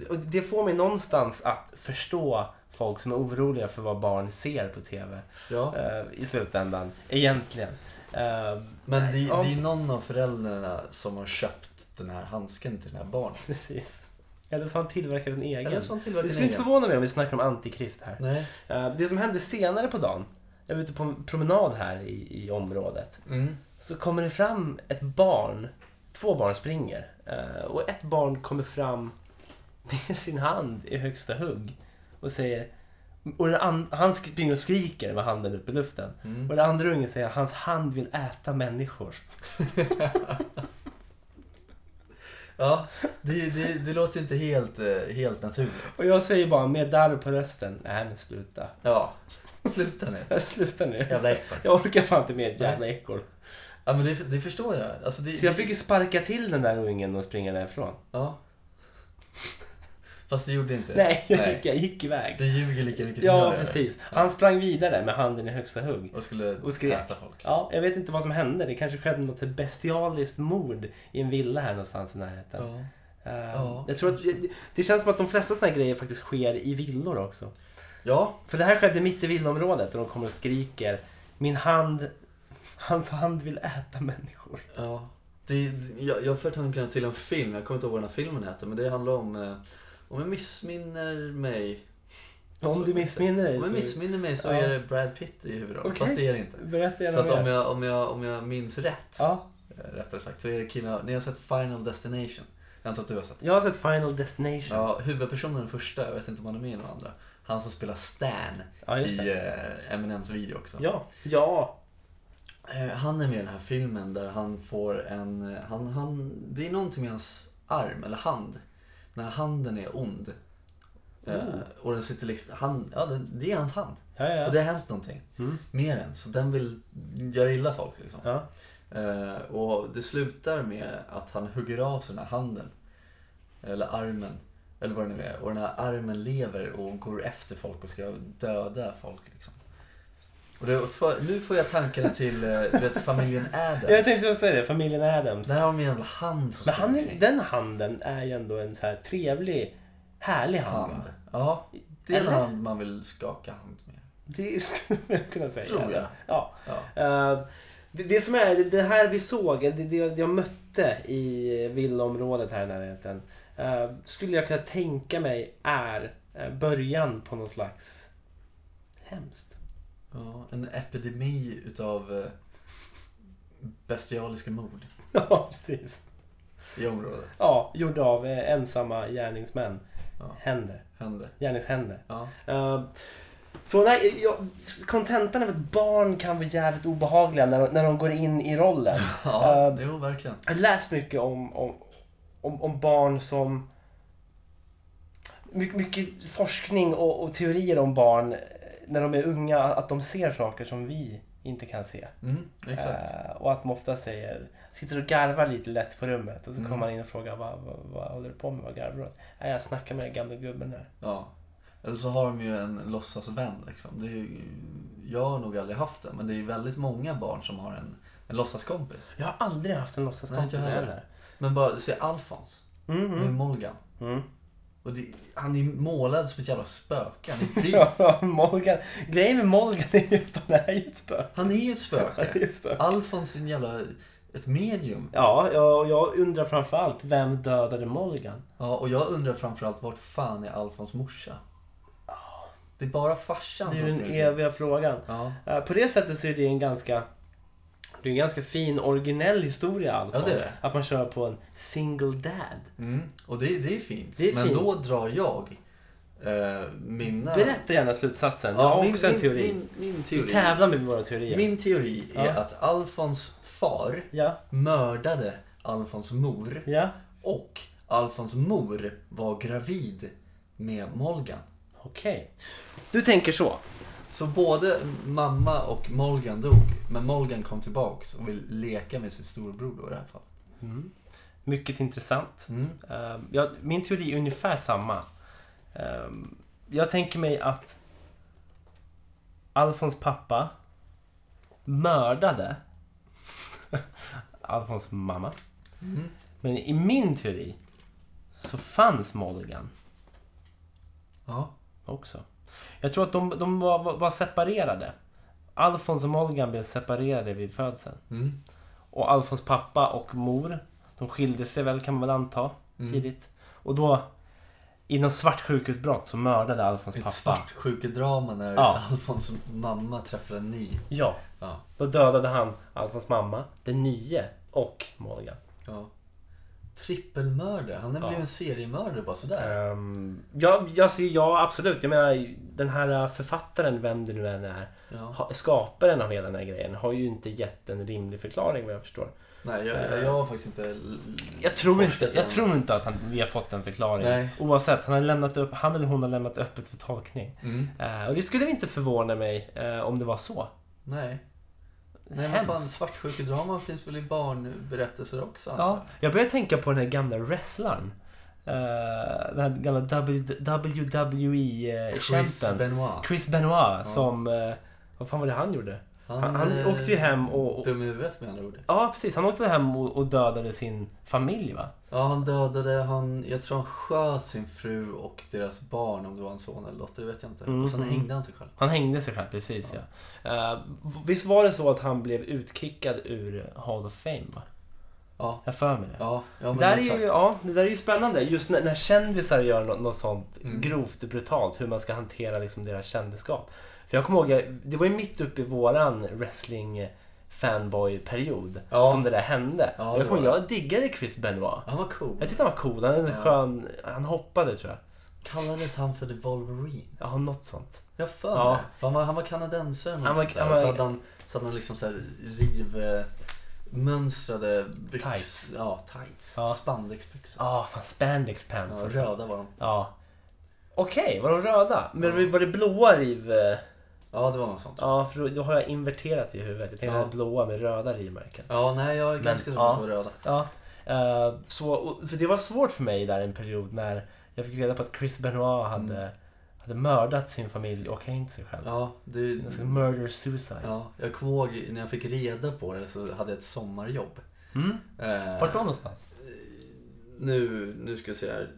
A: och det får mig någonstans att förstå folk som är oroliga för vad barn ser på TV
B: Ja.
A: eh, i slutändan. Egentligen. Eh,
B: Men det, det
A: Ja.
B: är ju någon av föräldrarna som har köpt den här handsken till det här barnet.
A: Precis. Eller så har han tillverkat en egen.
B: Eller så har han
A: Det
B: tillverkat
A: skulle
B: en
A: inte
B: egen.
A: förvåna mig om vi snackar om antikrist här.
B: Nej.
A: Eh, Det som hände senare på dagen, jag var ute på en promenad här i, i området,
B: Mm.
A: så kommer det fram ett barn, två barn springer, eh, och ett barn kommer fram med sin hand i högsta hugg och säger och den and, han springer och skriker med handen upp i luften.
B: Mm.
A: Och den andra ungen säger hans hand vill äta människor.
B: Ja, det, det, det låter ju inte helt, eh, helt naturligt.
A: Och jag säger bara med darr på rösten, nej men sluta.
B: Ja, sluta nu.
A: sluta nu.
B: Jävla ekorre.
A: Jag orkar fan inte med ett jävla ekorre.
B: Ja, men det, det förstår jag. Alltså, det,
A: Så jag fick ju sparka till den där ungen och springa därifrån.
B: Ja. Fast du gjorde inte det.
A: Nej, jag gick, jag gick iväg.
B: Du ljuger lika mycket som
A: Ja,
B: jag gör.
A: precis. Han sprang vidare med handen i högsta hugg.
B: Och skulle
A: Och skrek.
B: äta folk.
A: Ja, jag vet inte vad som hände. Det kanske skedde något bestialiskt mord i en villa här någonstans i närheten.
B: Ja.
A: Eh,
B: Ja.
A: jag tror att det, det känns som att de flesta såna här grejer faktiskt sker i villor också.
B: ja,
A: För det här skedde mitt i villaområdet och de kommer och skriker Min hand, hans hand vill äta människor.
B: Ja. Det, jag, jag för tankarna till en film, jag kommer inte ihåg vad den här filmen heter, men det handlar om... eh, Om jag missminner mig...
A: Om du missminner dig
B: Om jag
A: så
B: missminner mig så
A: Ja.
B: är det Brad Pitt i huvudrollen,
A: Okej.
B: fast det är det inte.
A: berätta
B: Så
A: gärna
B: att om
A: mer.
B: jag, om, jag, om jag minns rätt,
A: Ja,
B: eh, rättare sagt, så är det killen... Ni har sett Final Destination? Jag antar att du har sett
A: jag har sett Final Destination.
B: Ja, huvudpersonen den första, jag vet inte om han är med i någon andra. Han som spelar Stan
A: Ja, just
B: i
A: det.
B: eh, Eminems video också.
A: Ja. Ja.
B: Eh, Han är med i den här filmen där han får en... eh, Han, han, det är någonting med hans arm, eller hand. När handen är ond. Eh,
A: Oh.
B: Och den sitter liksom... Han, ja, det, det är hans hand.
A: Ja, ja.
B: Och det har hänt någonting
A: Mm.
B: med den. Så den vill göra illa folk liksom.
A: Ja.
B: Eh, Och det slutar med att han hugger av sig den här handen. Eller armen. Eller vad det nu är. Och den här armen lever och går efter folk och ska döda folk. Liksom. Och det, för, nu får jag tankarna till eh, du vet, familjen Adams.
A: Jag tänkte just säga det, familjen Adams.
B: Där har de en jävla hand som
A: Men han
B: springer
A: är,
B: omkring.
A: den handen är ju ändå en så här trevlig, härlig hand.
B: hand. Ja, det är en
A: Eller?
B: hand man vill skaka hand med.
A: Det skulle jag kunna säga.
B: Tror jag.
A: Ja.
B: Ja.
A: Eh, det, det som är, det här vi såg, det, det jag jag mötte i villaområdet här i närheten. eh, skulle jag kunna tänka mig är eh, början på någon slags... Hemskt.
B: Ja, en epidemi utav eh, bestialiska mord
A: Ja, precis.
B: i området.
A: Ja, gjord av eh, ensamma gärningsmän.
B: Ja.
A: Händer.
B: Händer.
A: Gärningshänder.
B: Ja.
A: Eh, Så nej, jag, kontentan av att barn kan vara jävligt obehagliga när de, när de går in i rollen.
B: Ja,
A: Eh,
B: jo verkligen.
A: Jag har läst mycket om, om, om, om barn som... Mycket, mycket forskning och, och teorier om barn eh, när de är unga, att de ser saker som vi inte kan se.
B: Mm, exakt.
A: Eh, och att de ofta säger, sitter och garvar lite lätt på rummet och så
B: Mm.
A: kommer man in och frågar vad, vad, vad håller du på med, vad garvar du åt? "Nej, Jag snackar med den gamla gubben här.
B: Ja. Eller så har de ju en låtsasvän liksom. Det är ju, jag har nog aldrig haft det, men det är ju väldigt många barn som har en, en låtsaskompis.
A: Jag har aldrig haft en låtsaskompis
B: Nej, inte jag heller.
A: heller.
B: Men bara, se Alfons
A: Mm,
B: med
A: mm.
B: Molgan.
A: Mm.
B: Och det, han är målad som ett jävla spöke. Han är vit.
A: Ja, Morgan. Grejen med Morgan är ju att han är ju ett spöke.
B: Han är ju ett
A: Han är
B: spöke.
A: ju ett spöke.
B: Alfons är en jävla... Ett medium.
A: Ja, jag, och jag undrar framförallt, vem dödade Morgan?
B: Ja, och jag undrar framförallt, vart fan är Alfons morsa? Det är bara farsan
A: Det är ju den
B: springer.
A: eviga frågan.
B: Ja.
A: Eh, På det sättet så är det en ganska det är en ganska fin originell historia Alfons.
B: Ja, det är det.
A: Att man kör på en single dad.
B: Mm. Och det, det är fint.
A: Det är
B: Men
A: fint.
B: då drar jag Eh, mina...
A: Berätta gärna slutsatsen.
B: Ja,
A: jag har
B: min-
A: också en
B: min-
A: teori.
B: Min, min
A: Vi
B: teori,
A: tävlar med våra teorier.
B: min teori är
A: Ja.
B: att Alfons far
A: Ja,
B: mördade Alfons mor
A: ja.
B: och Alfons mor var gravid med Molgan.
A: Okej. Du tänker så.
B: Så både mamma och Molgan dog, men Molgan kom tillbaks och vill leka med sin storbror då i det här fallet.
A: Mycket intressant.
B: Mm.
A: Ehm, jag, min teori är ungefär samma. Ehm, jag tänker mig att Alfons pappa mördade Alfons mamma.
B: Mm.
A: Men i min teori så fanns Mulligan
B: Ja.
A: också. Jag tror att de, de var, var- var separerade. Alfons och Mulligan blev separerade vid födseln.
B: Mm.
A: Och Alfons pappa och mor, de skilde sig väl kan man väl anta
B: Mm.
A: tidigt. Och då, i något svart sjukutbrott så mördade Alfons pappa.
B: Ett svartsjukedrama när
A: Ja.
B: Alfons mamma träffar en ny.
A: Ja,
B: Ja.
A: då dödade han Alfons mamma, den nye och Mulligan.
B: ja. Trippelmördare. Han blev
A: Ja.
B: en seriemördare bara sådär.
A: Ehm, ja, jag ser, ja, absolut. Jag menar, den här författaren, vem det nu än är,
B: Ja.
A: ha- skaparen av hela den här grejen har ju inte gett en rimlig förklaring vad jag förstår.
B: Nej, jag, jag, jag har faktiskt inte... l-
A: Eh. Jag tror
B: forskat
A: inte, jag
B: än.
A: tror inte att han, vi har fått en förklaring.
B: Nej.
A: Oavsett, han, har lämnat upp, han eller hon har lämnat öppet för tolkning.
B: Mm.
A: Eh, och det skulle inte förvåna mig eh, om det var så.
B: Nej. Nej, vad
A: Hemskt.
B: fan. Svartsjukedraman finns väl i barnberättelser också? antar
A: Ja, jag börjar tänka på den här gamla wrestlaren. Eh, den här gamla WWE-kämpen.
B: jag. Chris Benoit.
A: E, eh, Chris Benoit som... eh, vad fan var det han gjorde? Han, han
B: eh,
A: åkte ju hem och... och
B: Dum i huvudet med andra ord.
A: ja, precis. Han åkte hem och, och dödade sin familj, va?
B: Ja, han dödade, han, jag tror han sköt sin fru och deras barn, om det var en son eller dotter, det vet jag inte.
A: Mm,
B: Och sen
A: mm.
B: hängde han sig själv.
A: Han hängde sig själv, precis ja. Eh, visst var det så att han blev utkickad ur Hall of Fame? Va?
B: Ja,
A: Jag för mig det.
B: ja, ja men
A: där är
B: exakt.
A: ju, ja, det där är ju spännande. Just när, när kändisar gör något, något sånt
B: Mm.
A: grovt och brutalt. Hur man ska hantera liksom deras kändisskap. För jag kommer ihåg, jag, det var ju mitt uppe i våran wrestling fanboy-period
B: Ja.
A: som det där hände.
B: Ja,
A: Och
B: det
A: jag, kommer,
B: var
A: ihåg, jag diggade Chris Benoit.
B: Han var cool.
A: Jag tyckte han var cool. Han, är en
B: Ja.
A: skön, han hoppade tror jag.
B: Kallades han för The Wolverine?
A: Ja, något sånt.
B: Jag för
A: Ja.
B: mig. För han var, han var kanadensare eller
A: Han
B: något
A: var-
B: sånt där.
A: han
B: Och Så
A: var-
B: hade han, så hade han liksom så här rivmönstrade byxor.
A: Tights.
B: Ja, tights.
A: Ja.
B: Spandexbyxor.
A: Ah, fan spandex pants.
B: Ja,
A: alltså.
B: röda var de.
A: Ja. Okej, var de röda? Men var det blåa riv? eh?
B: Ja, det var något sånt. Ja,
A: Ja, för då- då har jag inverterat i huvudet. Jag tänkte
B: Ja.
A: att det var blåa med röda rivmärken.
B: nej, jag är ganska säker på
A: ja.
B: att det var röda.
A: Ja. eh, så, och, så det var svårt för mig där en period när jag fick reda på att Chris Benoit hade, hade mördat sin familj och hängt sig själv.
B: Mm. Ja, det,
A: Alltså murder suicide.
B: ja, jag kommer ihåg när jag fick reda på det så hade jag ett sommarjobb.
A: Mm.
B: Eh,
A: Vart då någonstans?
B: Nu, nu ska jag se här.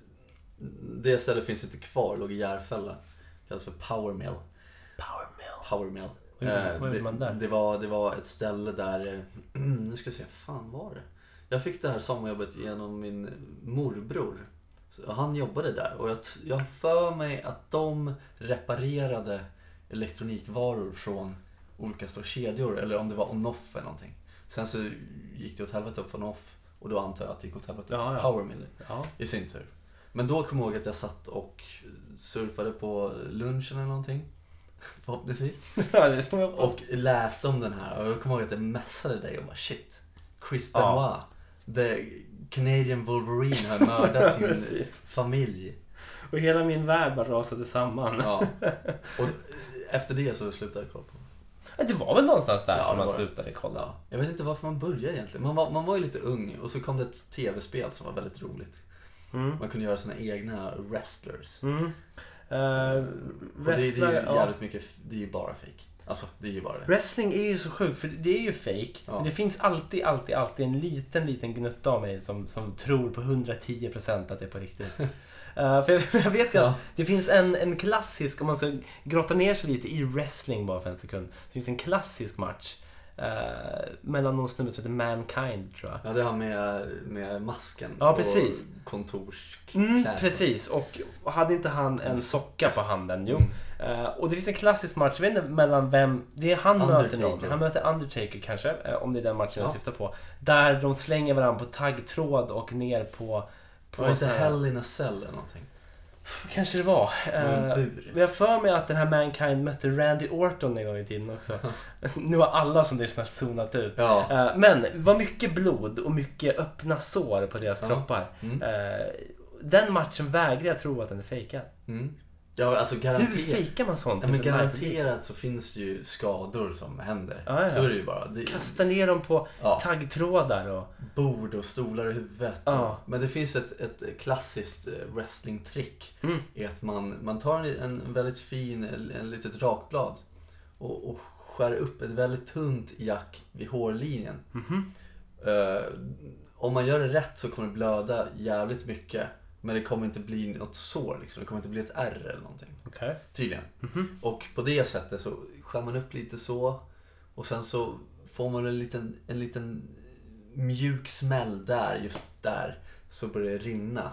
B: Det stället finns inte kvar, låg i Järfälla. Kallas för Power Mill.
A: Power mill.
B: Power Mill.
A: Vad gjorde-
B: Eh,
A: vad gjorde man
B: det,
A: där?
B: det, var, det var ett ställe där, eh, nu ska jag se, fan var det? Jag fick det här sommarjobbet genom min morbror. Så han jobbade där och jag, t- jag har för mig att de reparerade elektronikvaror från olika stora kedjor eller om det var Onoff eller någonting. Sen så gick det åt helvete för Onoff och då antar jag att det gick åt helvete för
A: Ja, ja.
B: Power Mill
A: Ja.
B: i sin tur. Men då kom jag ihåg att jag satt och surfade på lunchen eller någonting. Förhoppningsvis.
A: det kommer jag på.
B: Och läste om den här och jag kommer ihåg att jag messade dig och bara shit. Chris Benoit,
A: Ja.
B: the Canadian Wolverine har mördat sin
A: Precis.
B: familj.
A: och hela min värld bara rasade samman.
B: Ja. Och efter det så slutade jag kolla på
A: Ja, Det var väl någonstans där
B: Ja,
A: som
B: det
A: man
B: var det.
A: slutade kolla.
B: ja. Jag vet inte varför man började egentligen. Man var, man var ju lite ung och så kom det ett tv-spel som var väldigt roligt.
A: Mm.
B: Man kunde göra sina egna wrestlers.
A: Mm.
B: Eh,
A: Eh,
B: och det, det är
A: wrestlare,
B: ju
A: ja.
B: jävligt mycket, f- det är ju bara fake. Alltså det är ju bara det.
A: Wrestling är ju så sjukt för det är ju fake.
B: Ja.
A: Men det finns alltid, alltid, alltid en liten, liten gnutta av mig som, som tror på 110% att det är på riktigt. Eh, för jag, jag vet ju
B: Ja.
A: att det finns en, en klassisk, om man ska grotta ner sig lite i wrestling bara för en sekund. Det finns en klassisk match eh, mellan någon snubbe som heter Mankind tror jag.
B: Ja, det har med, med masken
A: Ja, precis.
B: och kontorskläder.
A: Mm, precis, och hade inte han en socka på handen? Jo.
B: Mm.
A: Eh, och det finns en klassisk match, jag vet inte mellan vem... Det är han möter någon.
B: Undertaker.
A: Han möter Undertaker kanske, eh, om det är den matchen jag
B: Ja.
A: syftar på. Där de slänger varandra på taggtråd och ner på...
B: Var
A: på
B: inte
A: sån här-
B: Hell in a Cell eller någonting?
A: Kanske det var.
B: Och en
A: Eh,
B: bur.
A: Men jag har för mig att den här Mankind mötte Randy Orton en gång i tiden också. nu har alla som lyssnar zonat ut.
B: Ja.
A: Eh, Men det var mycket blod och mycket öppna sår på deras
B: Ja.
A: kroppar.
B: Mm.
A: Eh, Den matchen vägrar jag tro att den är fejkad.
B: Mm. Ja, alltså
A: Hur
B: garanterat.
A: fejkar man sånt?
B: Ja, men
A: inför en livepublik?
B: garanterat så finns det ju skador som händer.
A: Ja, ja.
B: Så är det ju bara. Det,
A: Kasta ner dem på
B: ja,
A: taggtrådar och...
B: bord och stolar i huvudet.
A: Ja.
B: Men det finns ett, ett klassiskt eh, wrestlingtrick.
A: Mm.
B: Är att man, man tar en, en väldigt fin, en, en litet rakblad och, och skär upp ett väldigt tunt jack vid hårlinjen.
A: Mhm.
B: Eh, om man gör det rätt så kommer det blöda jävligt mycket. Men det kommer inte bli något sår liksom. Det kommer inte bli ett ärr eller någonting.
A: Okej.
B: Tydligen.
A: Mhm.
B: Och på det sättet så skär man upp lite så. Och sen så får man en liten, en liten mjuk smäll där, just där. Så börjar det rinna.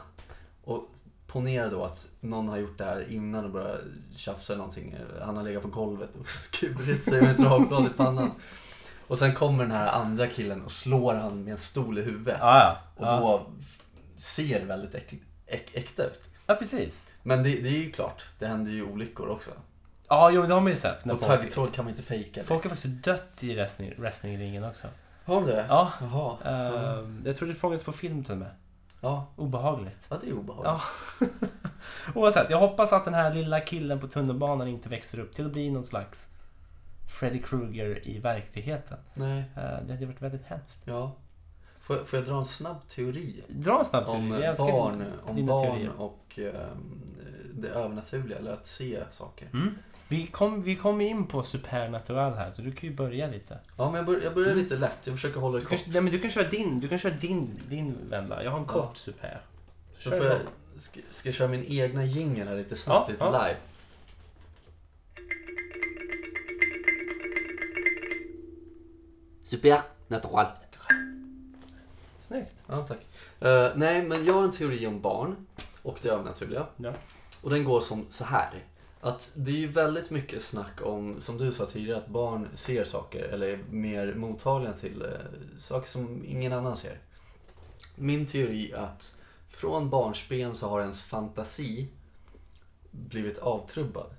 B: Och ponera då att någon har gjort det här innan och börjar tjafsa eller någonting. Han har legat på golvet och skurit sig med ett rakblad i pannan. Och sen kommer den här andra killen och slår han med en stol i huvudet.
A: Ja, ja.
B: Och
A: Ja.
B: då ser det väldigt äk, äk, äkta ut.
A: Ja, precis.
B: Men det, det är ju klart, det händer ju olyckor också.
A: Ja, jo, det har man ju sett. När
B: Och
A: folk,
B: taggtråd kan man inte fejka.
A: folk har faktiskt dött i wrestling, wrestlingringen också.
B: Har de det?
A: Ja.
B: Jaha.
A: eh, Jag tror det fångades på film till och med.
B: Ja.
A: Obehagligt.
B: ja, det är obehagligt.
A: Ja. Oavsett, jag hoppas att den här lilla killen på tunnelbanan inte växer upp till att bli någon slags Freddy Krueger i verkligheten.
B: Nej.
A: Eh, Det hade varit väldigt hemskt.
B: Ja. Får, jag- får jag dra en snabb teori?
A: Dra en snabb
B: Om
A: teori. Jag
B: eh,
A: älskar
B: barn,
A: din-
B: om
A: dina
B: barn
A: teorier.
B: och ehm, det övernaturliga, eller att se saker.
A: Mm. Vi kom, vi kom in på supernatural här, så du kan ju börja lite.
B: Ja, men jag, bör, jag börjar
A: Mm.
B: lite lätt. Jag försöker hålla det
A: Du kan,
B: kort.
A: nej, men du kan köra din, du kan köra din, din vända. Jag har en
B: Ja.
A: kort super.
B: Så
A: Kör
B: får jag,
A: igång.
B: ska, ska jag köra min egna jingle här lite snabbt,
A: Ja,
B: lite
A: ja.
B: live?
C: Supernatural.
A: Snyggt.
B: Ja, tack. Eh, nej, men jag har en teori om barn och det övernaturliga.
A: Ja.
B: Och den går som så här. Att det är ju väldigt mycket snack om, som du sa tidigare, att barn ser saker eller är mer mottagliga till eh, saker som ingen annan ser. Min teori är att från barnsben så har ens fantasi blivit avtrubbad.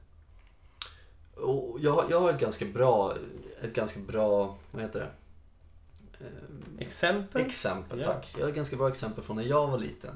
B: Och jag, jag har ett ganska bra, ett ganska bra, vad heter det? Eh,
A: Exempel?
B: Exempel,
A: Ja.
B: tack. Jag har ett ganska bra exempel från när jag var liten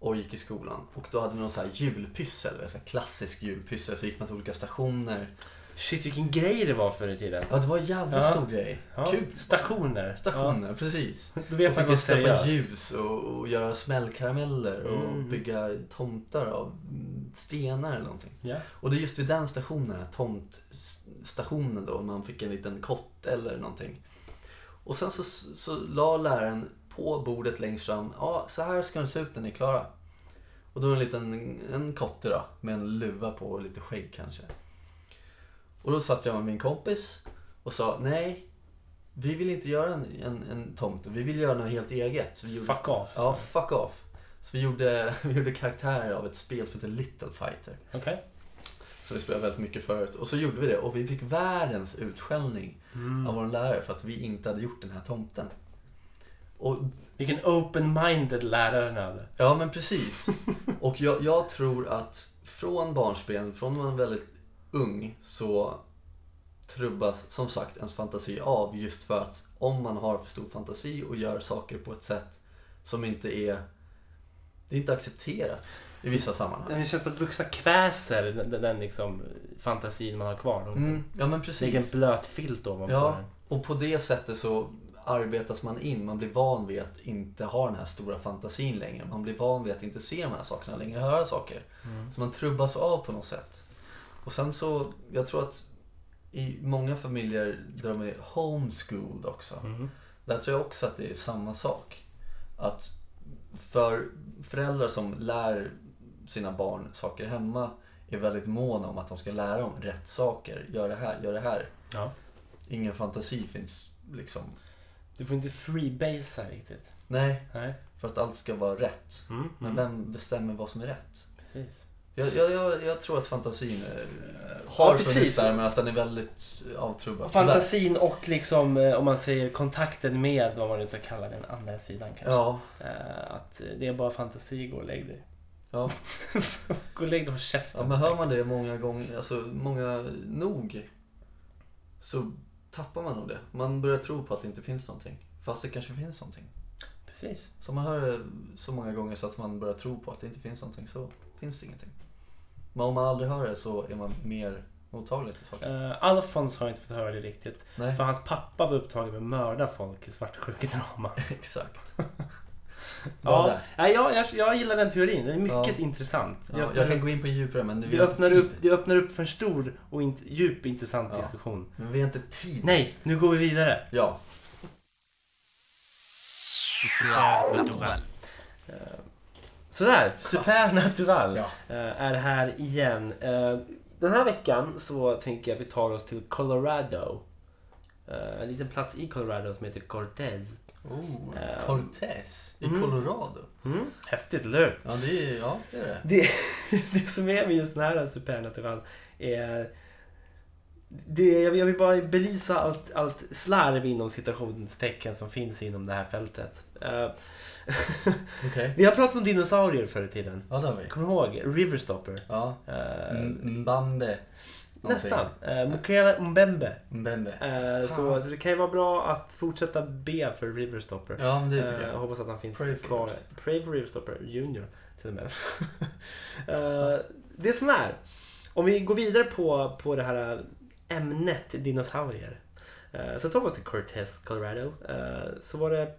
B: och gick i skolan. Och då hade vi någon så här julpyssel, eller så här klassisk julpyssel. Så gick man till olika stationer.
A: Shit vilken grej det var förr i tiden.
B: Ja, det var en jävla
A: Ja.
B: stor grej.
A: Ja.
B: Kul.
A: Stationer.
B: Stationer, precis.
A: Ja. Då
B: Och
A: vet man
B: fick
A: att det är
B: man stoppa
A: seriöst.
B: ljus och, och göra smällkarameller och
A: Mm.
B: bygga tomtar av mm, stenar eller någonting.
A: Ja.
B: Och det är just vid den stationen, den här tomtstationen då, man fick en liten kott eller någonting. Och sen så, så la läraren på bordet längst fram, ja så här ska den se ut när ni är klara. Och då är det en liten en kotte då, med en luva på och lite skägg kanske. Och då satt jag med min kompis och sa, nej, vi vill inte göra en, en, en tomte, vi vill göra något helt eget. Så vi gjorde
A: Fuck off.
B: Ja, fuck off. Så vi gjorde, vi gjorde karaktärer av ett spel som heter Little Fighter.
A: Okej.
B: Som vi spelade väldigt mycket förut. Och så gjorde vi det och vi fick världens utskällning
A: Mm.
B: av vår lärare för att vi inte hade gjort den här tomten. Och,
A: Vilken open-minded läraren hade.
B: ja men precis. Och jag, jag tror att från barnsben, från man är väldigt ung, så trubbas som sagt ens fantasi av just för att om man har för stor fantasi och gör saker på ett sätt som inte är, det är inte accepterat i vissa sammanhang.
A: Det känns som att vuxna kväser den, den, den liksom fantasin man har kvar. De liksom.
B: Mm, ja men
A: Vilken
B: precis.
A: blöt filt ovanpå
B: Ja.
A: den.
B: Och på det sättet så arbetas man in, man blir van vid att inte ha den här stora fantasin längre. Man blir van vid att inte se de här sakerna längre, höra saker. Så man trubbas av på något sätt. Och sen så, jag tror att i många familjer där de är homeschooled också.
A: Mm.
B: Där tror jag också att det är samma sak. Att för föräldrar som lär sina barn saker hemma är väldigt måna om att de ska lära dem rätt saker. Gör det här, gör det här.
A: Ja.
B: Ingen fantasi finns liksom.
A: Du får inte freebasea riktigt.
B: Nej,
A: Nej.
B: för att allt ska vara rätt.
A: Mm.
B: Men vem bestämmer vad som är rätt?
A: Precis.
B: Jag, jag, jag, jag tror att fantasin är,
A: Ja,
B: har
A: precis.
B: funnits där men att den är väldigt eh, avtrubbad.
A: Fantasin och liksom, eh, om man säger kontakten med, vad man nu ska kalla den andra sidan kanske.
B: Ja,
A: Eh, Att eh, det är bara fantasi, gå och lägg dig.
B: Ja.
A: Gå och lägg dig på
B: Ja,
A: käften.
B: men hör man det många gånger, alltså många nog, så tappar man nog det. Man börjar tro på att det inte finns någonting. Fast det kanske finns någonting.
A: Precis.
B: Så man hör det så många gånger så att man börjar tro på att det inte finns någonting, så finns det ingenting. Men om man aldrig hör det så är man mer mottaglig till saker.
A: Uh, Alfons har inte fått höra det riktigt.
B: Nej,
A: För hans pappa var upptagen med att mörda folk i svartsjukedrama.
B: exakt.
A: Ja,
B: Bra där.
A: Nej, jag, jag, jag gillar den teorin. Den är mycket
B: Ja.
A: intressant. Det
B: Ja,
A: öppnar,
B: jag kan
A: upp,
B: gå in på djupare men
A: det,
B: vi har inte
A: öppnar
B: tid.
A: upp, det öppnar upp för en stor och int, djup intressant
B: Ja.
A: diskussion.
B: Men vi har inte tid.
A: Nej, nu går vi vidare.
B: Ja.
A: Eh, Sådär, Supernatural
B: Ja.
A: eh, är här igen. Eh, Den här veckan så tänker jag att vi tar oss till Colorado. Eh, En liten plats i Colorado som heter Cortez.
B: Oh,
A: Ehm.
B: Cortez i
A: Mm.
B: Colorado.
A: Mm, häftigt, eller hur?
B: Ja, det är, ja, det, är det.
A: Det, det som är med just den här Supernatural är... Det, jag vill- jag vill bara belysa allt, allt slarv inom citationstecken som finns inom det här fältet. Eh,
B: Okej.
A: vi har pratat om dinosaurier förr i tiden.
B: Ja, det har vi.
A: Kommer du ihåg? Riverstopper.
B: Ja.
A: Eh,
B: M- Mbambe. någonting.
A: nästan. Uh, Mukela Mbembe.
B: Mbembe.
A: Eh, så,
B: Fan.
A: så det kan ju vara bra att fortsätta be för Riverstopper.
B: Ja, men det tycker
A: Eh,
B: jag.
A: hoppas att han finns
B: Pray for
A: kvar.
B: Riverstopper.
A: Pray for Riverstopper Junior till och med. Eh, det som är, om vi går vidare på, på det här eh, ämnet dinosaurier. Eh, så tar vi oss till Cortez, Colorado. Eh, så var det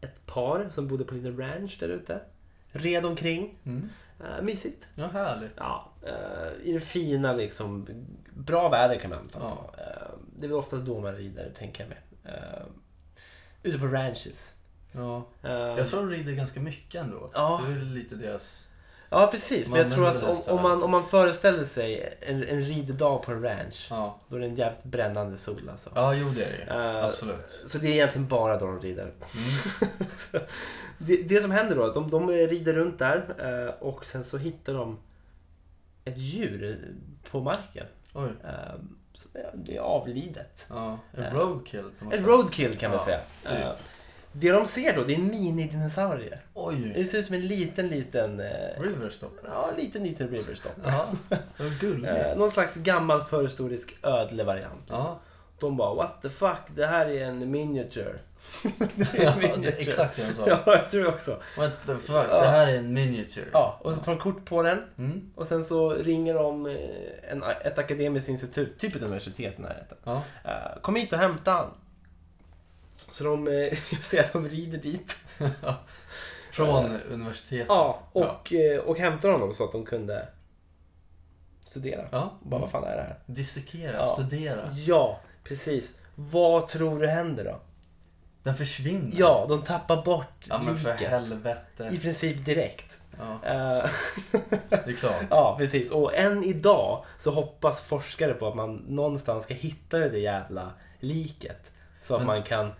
A: ett par som bodde på en liten ranch där ute. Red omkring.
B: Mm.
A: Eh, mysigt.
B: Ja, härligt.
A: Ja, eh, i det fina liksom. Bra väder kan man anta.
B: Ja.
A: Eh, det är väl oftast då man rider, tänker jag mig. Eh, ute på ranches.
B: Ja.
A: Eh,
B: Jag tror de rider ganska mycket ändå.
A: Ja.
B: Det är väl lite deras...
A: Ja, precis. Men
B: Man
A: jag tror
B: använder
A: att
B: hästar.
A: om, om, man, om man föreställer sig en, en riddag på en ranch,
B: Ja,
A: då är det en jävligt brännande sol alltså.
B: ja jo det är det ju.
A: Eh,
B: Absolut.
A: så det är egentligen bara då de rider.
B: Mm.
A: Det, det som händer då, de, de rider runt där eh, och sen så hittar de ett djur på marken.
B: Oj.
A: eh, Som är- det är avlidet.
B: Ja,
A: Eh.
B: en roadkill på något
A: Ett
B: sätt.
A: roadkill kan man
B: Ja,
A: säga.
B: typ.
A: Eh, Det de ser då, det är en mini-dinosaurie.
B: Oj!
A: Det ser ut som en liten, liten... eh,
B: Riverstopper.
A: Ja,
B: alltså.
A: en liten, liten Riverstop.
B: Ja, vad gulligt.
A: Eh, någon slags gammal förhistorisk ödlevariant.
B: Ja,
A: De bara what the fuck, det här är en miniature. det
B: ja det är exakt det jag sa.
A: Ja, jag tror också.
B: What the fuck,
A: Ja.
B: det här är en miniature.
A: Ja, och så tar de kort på den
B: Mm.
A: och sen så ringer de eh, en, ett akademiskt institut, typ ett universitet i närheten.
B: Ja.
A: Eh, kom hit och hämta han. Så de, eh, jag ser att de rider dit.
B: Från universitetet.
A: Eh. Ja, och, eh, och hämtar honom så att de kunde studera.
B: Ja.
A: Bara, vad fan är det här?
B: Dissekera,
A: Ja.
B: studera.
A: Ja, precis. Vad tror du händer då?
B: Den försvinner.
A: Ja, de tappar bort
B: Ja men för
A: liket. I
B: helvete.
A: princip direkt.
B: Ja,
A: Eh,
B: det är klart.
A: ja, precis. Och än idag så hoppas forskare på att man någonstans ska hitta det där jävla liket. Så att
B: Men-
A: man kan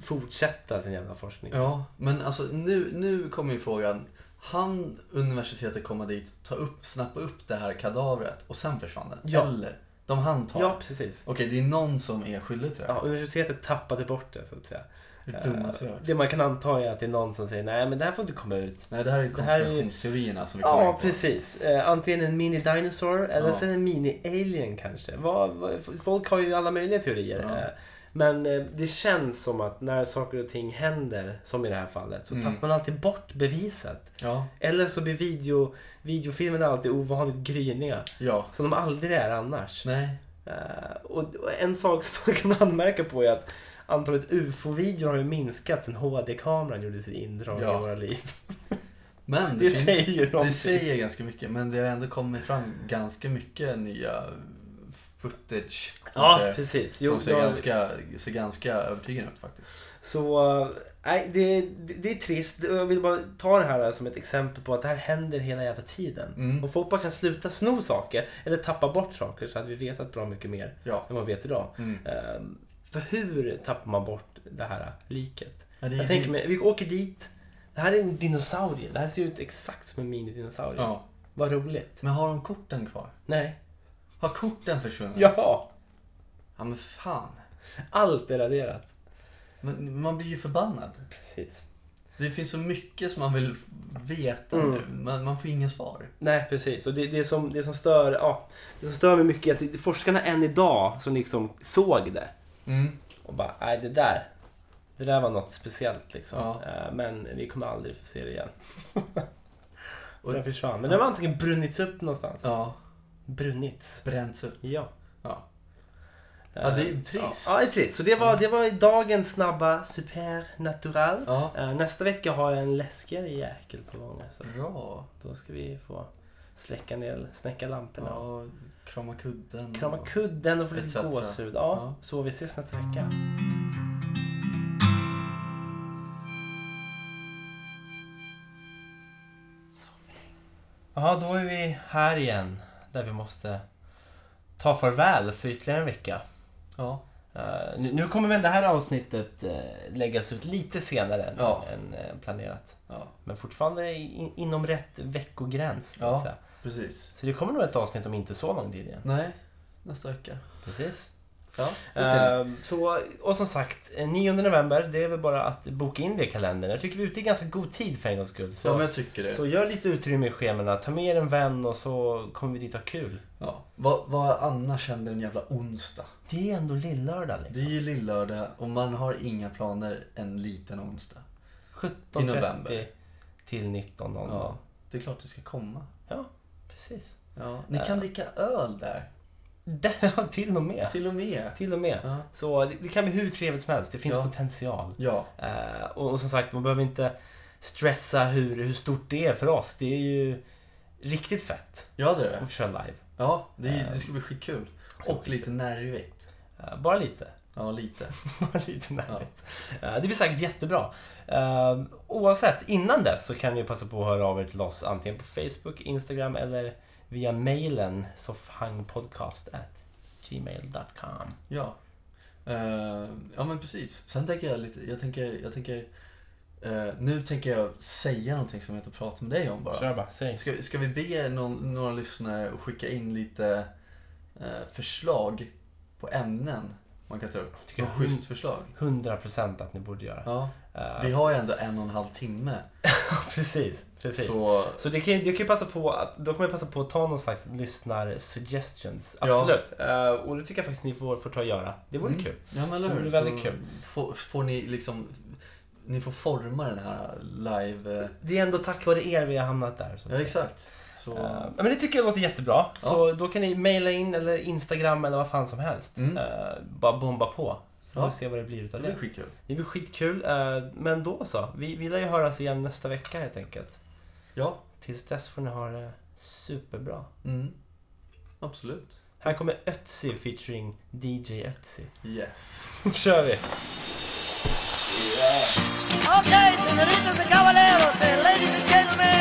A: fortsätta sin jävla forskning.
B: Ja, men alltså nu, nu kommer ju frågan. Han universitetet komma dit, ta upp, snappa upp det här kadavret och sen försvann den?
A: Ja.
B: Eller? De hann ta
A: Ja,
B: det.
A: precis.
B: Okej, det är någon som är skyldig till det
A: Ja, universitetet tappade bort det så att säga.
B: Det är dummaste jag
A: Eh,
B: hört.
A: det man kan anta är att det är någon som säger nej men det här får inte komma ut.
B: Nej, det här är
A: Det här är ju-
B: konspirationsteorierna som vi kommer in
A: Ja
B: på.
A: precis. Eh, antingen en mini dinosaur eller
B: Ja.
A: sen en mini alien kanske. Vad, vad, folk har ju alla möjliga teorier.
B: Ja.
A: Eh, Men eh, det känns som att när saker och ting händer, som i det här fallet, så
B: Mm.
A: tappar man alltid bort beviset.
B: Ja,
A: Eller så blir video, videofilmerna alltid ovanligt gryniga.
B: ja.
A: Som de aldrig är annars.
B: Nej.
A: Eh, och, och en sak som man kan anmärka på är att antalet UFO-videor har ju minskat sen HD-kameran gjorde sitt indrag i
B: Ja.
A: våra liv.
B: Men
A: Det
B: finns-
A: säger ju
B: Det
A: någonting.
B: säger ganska mycket, men det har ändå kommit fram ganska mycket nya footage.
A: Ja,
B: kanske,
A: precis.
B: som
A: Jo,
B: ser,
A: jag,
B: ganska, ser ganska övertygande ut faktiskt.
A: Så eh, nej, det, det, det är trist. Jag vill bara ta det här som ett exempel på att det här händer hela jävla tiden.
B: Mm.
A: Och folk bara kan sluta sno saker eller tappa bort saker så att vi vetat bra mycket mer
B: Ja.
A: än vad vi vet idag.
B: Mm.
A: Eh, För hur tappar man bort det här liket?
B: Ja, det är-
A: Jag tänker mig, vi åker dit. Det här är en dinosaurie. Det här ser ut exakt som en minidinosaure.
B: Ja.
A: Vad roligt.
B: Men har de korten kvar?
A: Nej.
B: Har korten försvunnit?
A: Ja!
B: Ja men fan.
A: Allt är raderat.
B: Men man blir ju förbannad.
A: Precis.
B: Det finns så mycket som man vill veta
A: Mm.
B: nu, men man får inga svar.
A: Nej, precis. Och det, det, som, det, som stör, ja, det som stör mig mycket är att det- forskarna än idag som liksom såg det och bara, nej det där, det där var något speciellt liksom.
B: Ja.
A: Eh, Men vi kommer aldrig få se det igen. och
B: Och-
A: den försvann. Men den har antingen brunnits upp någonstans.
B: Ja,
A: Brunnits.
B: bränts upp.
A: Ja.
B: Ja. Ja, det är
A: Ja,
B: trist.
A: ja, det är trist. Så det var, det var dagens snabba supernatural.
B: Ja,
A: Eh, Nästa vecka har jag en läskigare jäkel på gång. Alltså.
B: bra.
A: Då ska vi få släcka ner, snäcka lamporna.
B: Ja, krama kudden.
A: Krama
B: och-
A: kudden och få lite
B: Etc.
A: gåshud. Ja,
B: Ja.
A: Så vi ses nästa vecka. Jaha, då är vi här igen. Där vi måste ta farväl för ytterligare en vecka.
B: Ja,
A: Eh, nu, nu kommer väl det här avsnittet eh, läggas ut lite senare än,
B: Ja.
A: än eh, planerat.
B: ja,
A: Men fortfarande in, inom rätt veckogräns. Så,
B: Ja.
A: att säga.
B: precis.
A: så det kommer nog ett avsnitt om inte så lång tid igen.
B: Nej, nästa vecka.
A: Precis.
B: Ja, det ser ni.
A: Eh, så, och som sagt, eh, 9 november, det är väl bara att boka in det i kalendern. Jag tycker vi är ute i ganska god tid för en gångs skull.
B: Ja, men
A: Så,
B: jag tycker det.
A: så gör lite utrymme i schemana, ta med er en vän och så kommer vi dit och ha kul.
B: Ja. Vad, vad annars händer en jävla onsdag?
A: Det är ändå lillördag
B: Det
A: liksom.
B: är ju lillördag och man har inga planer en liten onsdag. i
A: 17.30
B: november.
A: till 19.00.
B: Ja,
A: Ja.
B: det är klart du ska komma.
A: precis.
B: Ja, eh. ni kan dricka öl där.
A: Det, till och med.
B: Till och med.
A: Till och med.
B: Ja.
A: Så det, det kan bli hur trevligt som helst, det finns
B: Ja.
A: potential.
B: Ja,
A: Eh, och, och som sagt, man behöver inte stressa hur, hur stort det är för oss. Det är ju riktigt fett
B: ja det är det.
A: att köra live.
B: Ja, det, är, det Eh. ska bli skitkul.
A: ska
B: Och
A: bli
B: lite nervigt.
A: Eh, Bara lite.
B: Ja, lite.
A: Bara lite närmigt. Eh, Det blir säkert jättebra. Eh, Oavsett, innan dess så kan ni passa på att höra av er till oss antingen på Facebook, Instagram eller via mejlen soffhangpodcast@gmail.com.
B: Ja. Eh, ja, men precis. Sen tänker jag lite, jag tänker, jag tänker, eh, nu tänker jag säga någonting som jag inte pratat med dig om bara.
A: Kör bara, säg.
B: Ska, ska vi be någon, några lyssnare att skicka in lite eh, förslag på ämnen man kan ta upp?
A: Tycker
B: Något
A: jag.
B: schysst förslag.
A: 100% att ni borde göra.
B: Ja,
A: Eh,
B: vi har ju ändå en och en halv timme.
A: precis, precis. Så,
B: Så
A: det kan ju, det kan ju passa på att, då kommer jag passa på att ta någon slags lyssnar-suggestions.
B: Ja.
A: Absolut. Eh, och det tycker jag faktiskt ni får, får ta och göra. Det vore
B: Mm.
A: kul.
B: Ja men eller
A: Det
B: hur?
A: blir
B: Så
A: väldigt kul.
B: Får, får ni liksom, ni får forma den här live... eh,
A: Det är ändå tack vare er vi har hamnat där. så att
B: Ja
A: säga.
B: exakt. Så,
A: Eh, men det tycker jag låter jättebra. Så då kan ni mejla in eller Instagram eller vad fan som helst.
B: Mm.
A: Eh, bara bomba på. Så
B: Ja.
A: får vi se vad det blir
B: det
A: utav
B: blir
A: det.
B: skitkul.
A: Det blir skitkul. eh, men då så. Vi, vi lär ju höras igen nästa vecka helt enkelt.
B: Ja,
A: Tills dess får ni ha det superbra.
B: mm. absolut.
A: Här kommer Ötzi featuring DJ Ötzi.
B: Yes.
A: Nu kör vi!
C: Okay, senoritas and caballeros, and ladies and gentlemen,